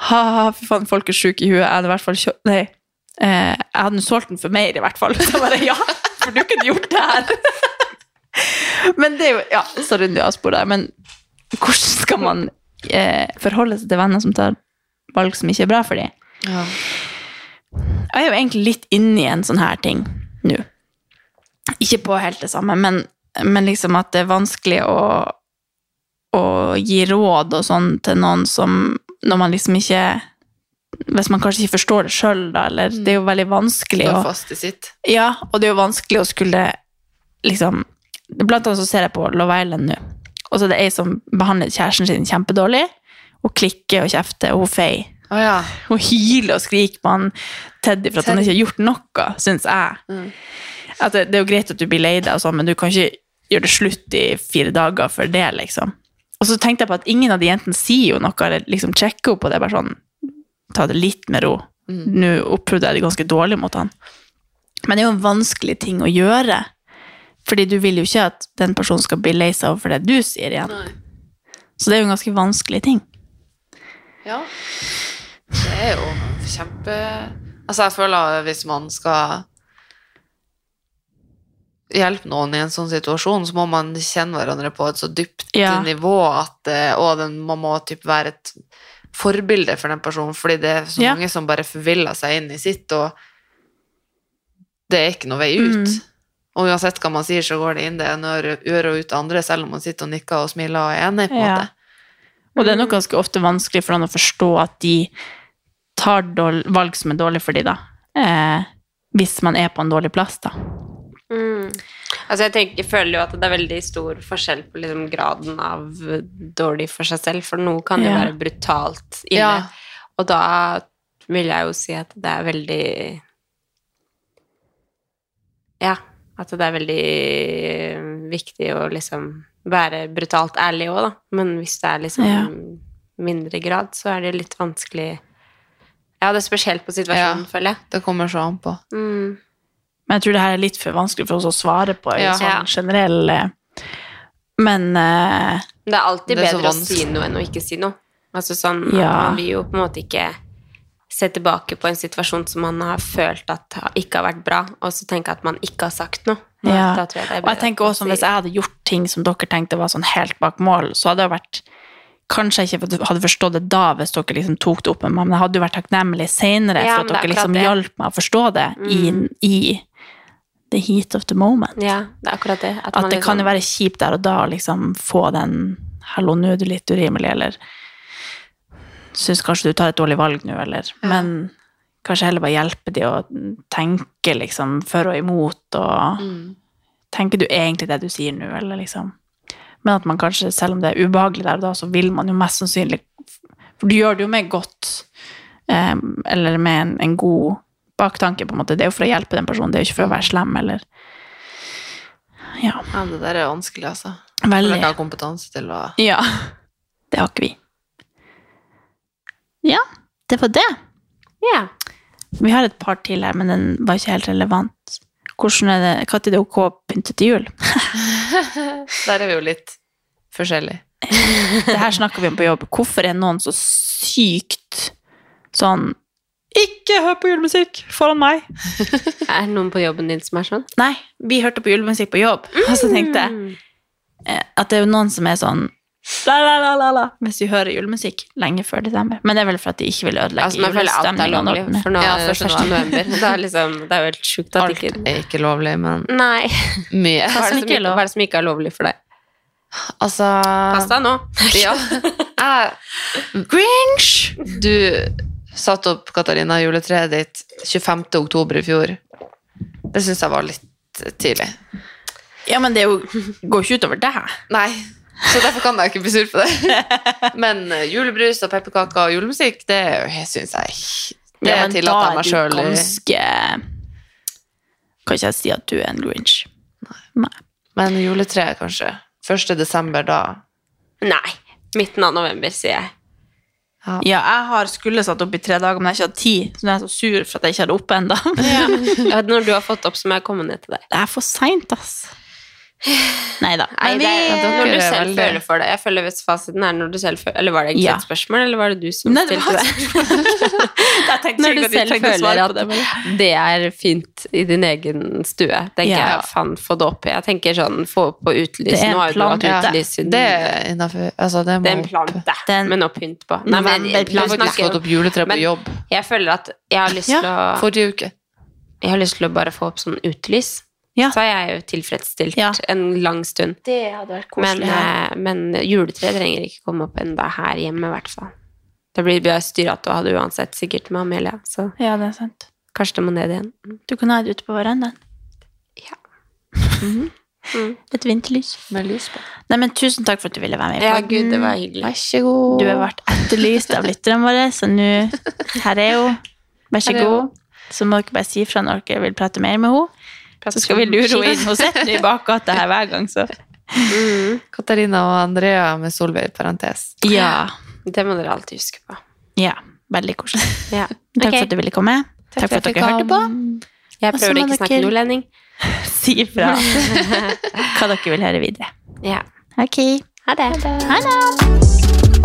[SPEAKER 1] ha-ha, fy faen, folk er syke i huet, jeg hadde i hvert fall kjøpt Nei, eh, jeg hadde nå solgt den for mer i hvert fall. Så bare ja, for du kunne gjort det her. Men det er jo Ja, sorry, du avspor der, men hvordan skal man eh, forholde seg til venner som tar valg som ikke er bra for dem?
[SPEAKER 3] Ja.
[SPEAKER 1] Jeg er jo egentlig litt inne i en sånn her ting nå. Ikke på helt det samme, men, men liksom at det er vanskelig å, å gi råd og sånn til noen som Når man liksom ikke Hvis man kanskje ikke forstår det sjøl, da, eller Det er jo veldig vanskelig å
[SPEAKER 3] Står fast i sitt.
[SPEAKER 1] ja, og det er jo vanskelig å skulle liksom Blant annet så ser jeg på Love Island nå. Og så er det ei som behandler kjæresten sin kjempedårlig. Hun klikker og kjefter, og hun feier.
[SPEAKER 3] Å ja.
[SPEAKER 1] Hun hyler og skriker på han Teddy for at han
[SPEAKER 3] Teddy.
[SPEAKER 1] ikke har gjort noe, syns jeg.
[SPEAKER 3] Mm.
[SPEAKER 1] At det, det er jo greit at du blir lei deg, og sånn, men du kan ikke gjøre det slutt i fire dager for det, liksom. Og så tenkte jeg på at ingen av de jentene sier jo noe, eller liksom sjekker opp på det, bare sånn Ta det litt med ro.
[SPEAKER 3] Mm.
[SPEAKER 1] Nå opptrodde jeg det ganske dårlig mot han. Men det er jo en vanskelig ting å gjøre. Fordi du vil jo ikke at den personen skal bli lei seg over det du sier igjen.
[SPEAKER 3] Nei.
[SPEAKER 1] Så det er jo en ganske vanskelig ting.
[SPEAKER 3] Ja. Det er jo kjempe Altså, jeg føler at hvis man skal hjelpe noen i en sånn situasjon, så må man kjenne hverandre på et så dypt
[SPEAKER 1] Ja.
[SPEAKER 3] nivå at eh, Og den, man må typ være et forbilde for den personen, fordi det er så
[SPEAKER 1] Ja.
[SPEAKER 3] mange som bare forviller seg inn i sitt, og det er ikke noe vei ut.
[SPEAKER 1] Mm.
[SPEAKER 3] Og uansett hva man sier, så går det inn det ene øret øret og ut det andre, selv om man sitter og nikker og smiler og er enig, på en
[SPEAKER 1] Ja.
[SPEAKER 3] måte.
[SPEAKER 1] Og det er nok ganske ofte vanskelig for han å forstå at de tar dårl- valg som er dårlig for de da. Eh, hvis man er på en dårlig plass, da.
[SPEAKER 2] Mm. Altså jeg, tenker, jeg føler jo at det er veldig stor forskjell på liksom graden av dårlig for seg selv, for noe kan jo
[SPEAKER 1] Ja.
[SPEAKER 2] være brutalt inne.
[SPEAKER 3] Ja.
[SPEAKER 2] Og da vil jeg jo si at det er veldig Ja, at det er veldig viktig å liksom være brutalt ærlig òg, da. Men hvis det er liksom
[SPEAKER 1] Ja.
[SPEAKER 2] mindre grad, så er det litt vanskelig Ja, det er spesielt på situasjonen, føler jeg.
[SPEAKER 3] Det kommer så an på.
[SPEAKER 2] Mm.
[SPEAKER 1] Men jeg tror det her er litt for vanskelig for oss å svare på i
[SPEAKER 3] Ja.
[SPEAKER 2] Ja.
[SPEAKER 1] sånn generell eh, Men eh,
[SPEAKER 2] Men Det er alltid
[SPEAKER 3] Det er så
[SPEAKER 2] bedre å
[SPEAKER 3] vanskelig.
[SPEAKER 2] si noe enn å ikke si noe. Altså sånn,
[SPEAKER 1] Ja.
[SPEAKER 2] Man vil jo på en måte ikke se tilbake på en situasjon som man har følt at ha- ikke har vært bra, og så tenke at man ikke har sagt noe.
[SPEAKER 1] Ja.
[SPEAKER 2] Da tror jeg det er
[SPEAKER 1] Og jeg
[SPEAKER 2] bedre
[SPEAKER 1] tenker
[SPEAKER 2] at man
[SPEAKER 1] også, Hvis
[SPEAKER 2] sier-
[SPEAKER 1] jeg hadde gjort ting som dere tenkte var sånn helt bak mål, så hadde det vært Kanskje jeg ikke hadde forstått det da, hvis dere liksom tok det opp med meg, men jeg hadde jo vært takknemlig senere
[SPEAKER 2] Ja,
[SPEAKER 1] for
[SPEAKER 2] men
[SPEAKER 1] at
[SPEAKER 2] det Mm. er
[SPEAKER 1] dere liksom
[SPEAKER 2] akkurat
[SPEAKER 1] hjalp meg å forstå det i, i the heat of the moment.
[SPEAKER 2] Ja, det er akkurat det.
[SPEAKER 1] At
[SPEAKER 2] man
[SPEAKER 1] det kan jo
[SPEAKER 2] liksom-
[SPEAKER 1] være kjipt der og da å liksom få den 'hallo, nå er du litt urimelig', eller 'syns kanskje du tar et dårlig valg nå', eller
[SPEAKER 3] Ja.
[SPEAKER 1] Men kanskje heller bare hjelpe de å tenke liksom for og imot, og tenker du egentlig det du sier nå, eller liksom Men at man kanskje, selv om det er ubehagelig der og da, så vil man jo mest sannsynlig For du gjør det jo med godt, eh, eller med en, en god baktanke, på en måte. Det er jo for å hjelpe den personen, det er jo ikke for å være slem, eller Ja.
[SPEAKER 3] Ja, det der er vanskelig, altså. For
[SPEAKER 1] Veldig.
[SPEAKER 3] dere har kompetanse til å
[SPEAKER 1] Ja. Det har ikke vi. Ja, det var det.
[SPEAKER 2] Ja.
[SPEAKER 1] Vi har et par til her, men den var ikke helt relevant. Hvordan er det, Når er det ok å pynte til jul?
[SPEAKER 3] Der er vi jo litt forskjellige.
[SPEAKER 1] Det her snakker vi om på jobb. Hvorfor er noen så sykt sånn Ikke hør på julemusikk foran meg!
[SPEAKER 2] Er det noen på jobben din som er sånn?
[SPEAKER 1] Nei, vi hørte på julemusikk på jobb, og så tenkte jeg
[SPEAKER 2] Mm.
[SPEAKER 1] eh, at det er jo noen som er sånn la, la, la, la, la, hvis vi hører julemusikk lenge før desember. Men det er vel for at de ikke vil ødelegge
[SPEAKER 2] Altså, man føler alt er
[SPEAKER 1] julestemningen.
[SPEAKER 2] lovlig, for nå
[SPEAKER 3] Ja,
[SPEAKER 2] er det
[SPEAKER 3] første
[SPEAKER 2] 1. november. Det er, liksom, det er jo helt sjukt at
[SPEAKER 3] Alt
[SPEAKER 2] ikke
[SPEAKER 3] er ikke lovlig, men
[SPEAKER 2] Nei.
[SPEAKER 3] mye.
[SPEAKER 2] Hva er, det
[SPEAKER 1] som
[SPEAKER 2] som
[SPEAKER 1] ikke er
[SPEAKER 2] ikke,
[SPEAKER 1] lov?
[SPEAKER 2] hva er det som ikke er lovlig for deg?
[SPEAKER 3] Altså
[SPEAKER 2] Pass deg nå.
[SPEAKER 3] Ja. Jeg- Du satte opp Katarina juletreet ditt 25. oktober i fjor. Det syns jeg var litt tidlig.
[SPEAKER 1] Ja, men det er jo, går ikke utover deg.
[SPEAKER 3] Nei, så derfor kan jeg ikke bli sur på det. Men eh, julebrus og pepperkaker og julemusikk, det syns jeg Det
[SPEAKER 1] Ja, men
[SPEAKER 3] tillater jeg meg
[SPEAKER 1] Da er
[SPEAKER 3] sjøl.
[SPEAKER 1] du ganske Kan ikke jeg si at du er en grinch.
[SPEAKER 3] Men juletreet, kanskje. 1. desember, da.
[SPEAKER 2] Nei. Midten av november, sier jeg.
[SPEAKER 1] Ja, jeg har skulle satt opp i tre dager, men jeg har ikke hatt tid. Så nå er jeg så sur for at jeg ikke har det oppe ennå.
[SPEAKER 2] Ja, Når du har fått opp, så må jeg komme ned til deg.
[SPEAKER 1] Det er for seint, ass. Nei da.
[SPEAKER 2] Nei, det er,
[SPEAKER 3] dere
[SPEAKER 2] når du
[SPEAKER 3] er
[SPEAKER 2] selv
[SPEAKER 3] veldig-
[SPEAKER 2] føler for det. Jeg føler hvis fasiten er når du selv føler Eller var det egentlig
[SPEAKER 1] Ja.
[SPEAKER 2] et spørsmål, eller var det du som
[SPEAKER 1] Nei, det
[SPEAKER 2] stilte
[SPEAKER 1] var-
[SPEAKER 2] det?
[SPEAKER 1] Jeg tenkte
[SPEAKER 2] Når du
[SPEAKER 1] ikke at de
[SPEAKER 2] selv
[SPEAKER 1] trengte å
[SPEAKER 2] føler
[SPEAKER 1] svare
[SPEAKER 2] at
[SPEAKER 1] på det, men-
[SPEAKER 2] det er fint i din egen stue, tenker
[SPEAKER 1] Ja.
[SPEAKER 2] jeg. Faen, få det opp. Jeg tenker sånn, få opp på
[SPEAKER 1] Det er
[SPEAKER 2] utlysen.
[SPEAKER 1] en
[SPEAKER 2] Nå har jo du
[SPEAKER 1] plan,
[SPEAKER 2] hatt
[SPEAKER 1] ja.
[SPEAKER 2] utlysen.
[SPEAKER 3] Det er innafor. Altså, det
[SPEAKER 2] Det
[SPEAKER 3] må
[SPEAKER 2] er en plan,
[SPEAKER 3] opp.
[SPEAKER 2] det.
[SPEAKER 1] Den-
[SPEAKER 2] Men opp pynt på. Nei, men
[SPEAKER 1] November-
[SPEAKER 3] Jeg
[SPEAKER 2] plan
[SPEAKER 3] har faktisk
[SPEAKER 2] snakker
[SPEAKER 3] fått
[SPEAKER 2] om.
[SPEAKER 3] opp juletre på
[SPEAKER 2] Men-
[SPEAKER 3] jobb
[SPEAKER 2] Jeg føler at jeg har lyst
[SPEAKER 1] Ja.
[SPEAKER 2] til å
[SPEAKER 3] forrige uke.
[SPEAKER 2] Jeg har lyst til å bare få opp sånn utelys.
[SPEAKER 1] Ja.
[SPEAKER 2] Så er jeg jo tilfredsstilt
[SPEAKER 1] Ja.
[SPEAKER 2] en lang stund.
[SPEAKER 1] Det hadde vært
[SPEAKER 2] Men, eh, men juletre trenger ikke komme opp ennå her hjemme, i hvert fall. Det blir bare styrete å ha det uansett, sikkert med Amelia. Så
[SPEAKER 1] ja, det er sant.
[SPEAKER 2] kanskje det må ned igjen.
[SPEAKER 1] Du kan ha det ute på verandaen.
[SPEAKER 2] Ja. Mm.
[SPEAKER 1] Et vinterlys.
[SPEAKER 3] Med lys på.
[SPEAKER 1] Nei, men tusen takk for at du ville være med. i
[SPEAKER 2] Ja,
[SPEAKER 1] podden.
[SPEAKER 2] gud, det var hyggelig.
[SPEAKER 3] Vær så god.
[SPEAKER 1] Du har vært etterlyst av lytterne våre, så nå Her er hun. Vær så
[SPEAKER 3] Her er hun.
[SPEAKER 1] god. Så må dere bare si fra når dere vil prate mer med henne. Så skal vi lure henne inn. Hun sitter i bakgata her hver gang, så
[SPEAKER 2] Mm.
[SPEAKER 3] Katarina og Andrea med Solveig i parentes.
[SPEAKER 1] Ja.
[SPEAKER 2] Det må dere alltid huske på.
[SPEAKER 1] ja. Veldig koselig.
[SPEAKER 2] Ja.
[SPEAKER 1] Takk
[SPEAKER 2] Ok.
[SPEAKER 1] for at du ville komme. Takk for at dere hørte på.
[SPEAKER 2] Jeg
[SPEAKER 1] Og så
[SPEAKER 2] prøver
[SPEAKER 1] må
[SPEAKER 2] å ikke snakke
[SPEAKER 1] dere-
[SPEAKER 2] nordlending.
[SPEAKER 1] Si fra hva dere vil høre videre.
[SPEAKER 2] Ja.
[SPEAKER 1] Ok.
[SPEAKER 2] Ha det.
[SPEAKER 1] Ha det.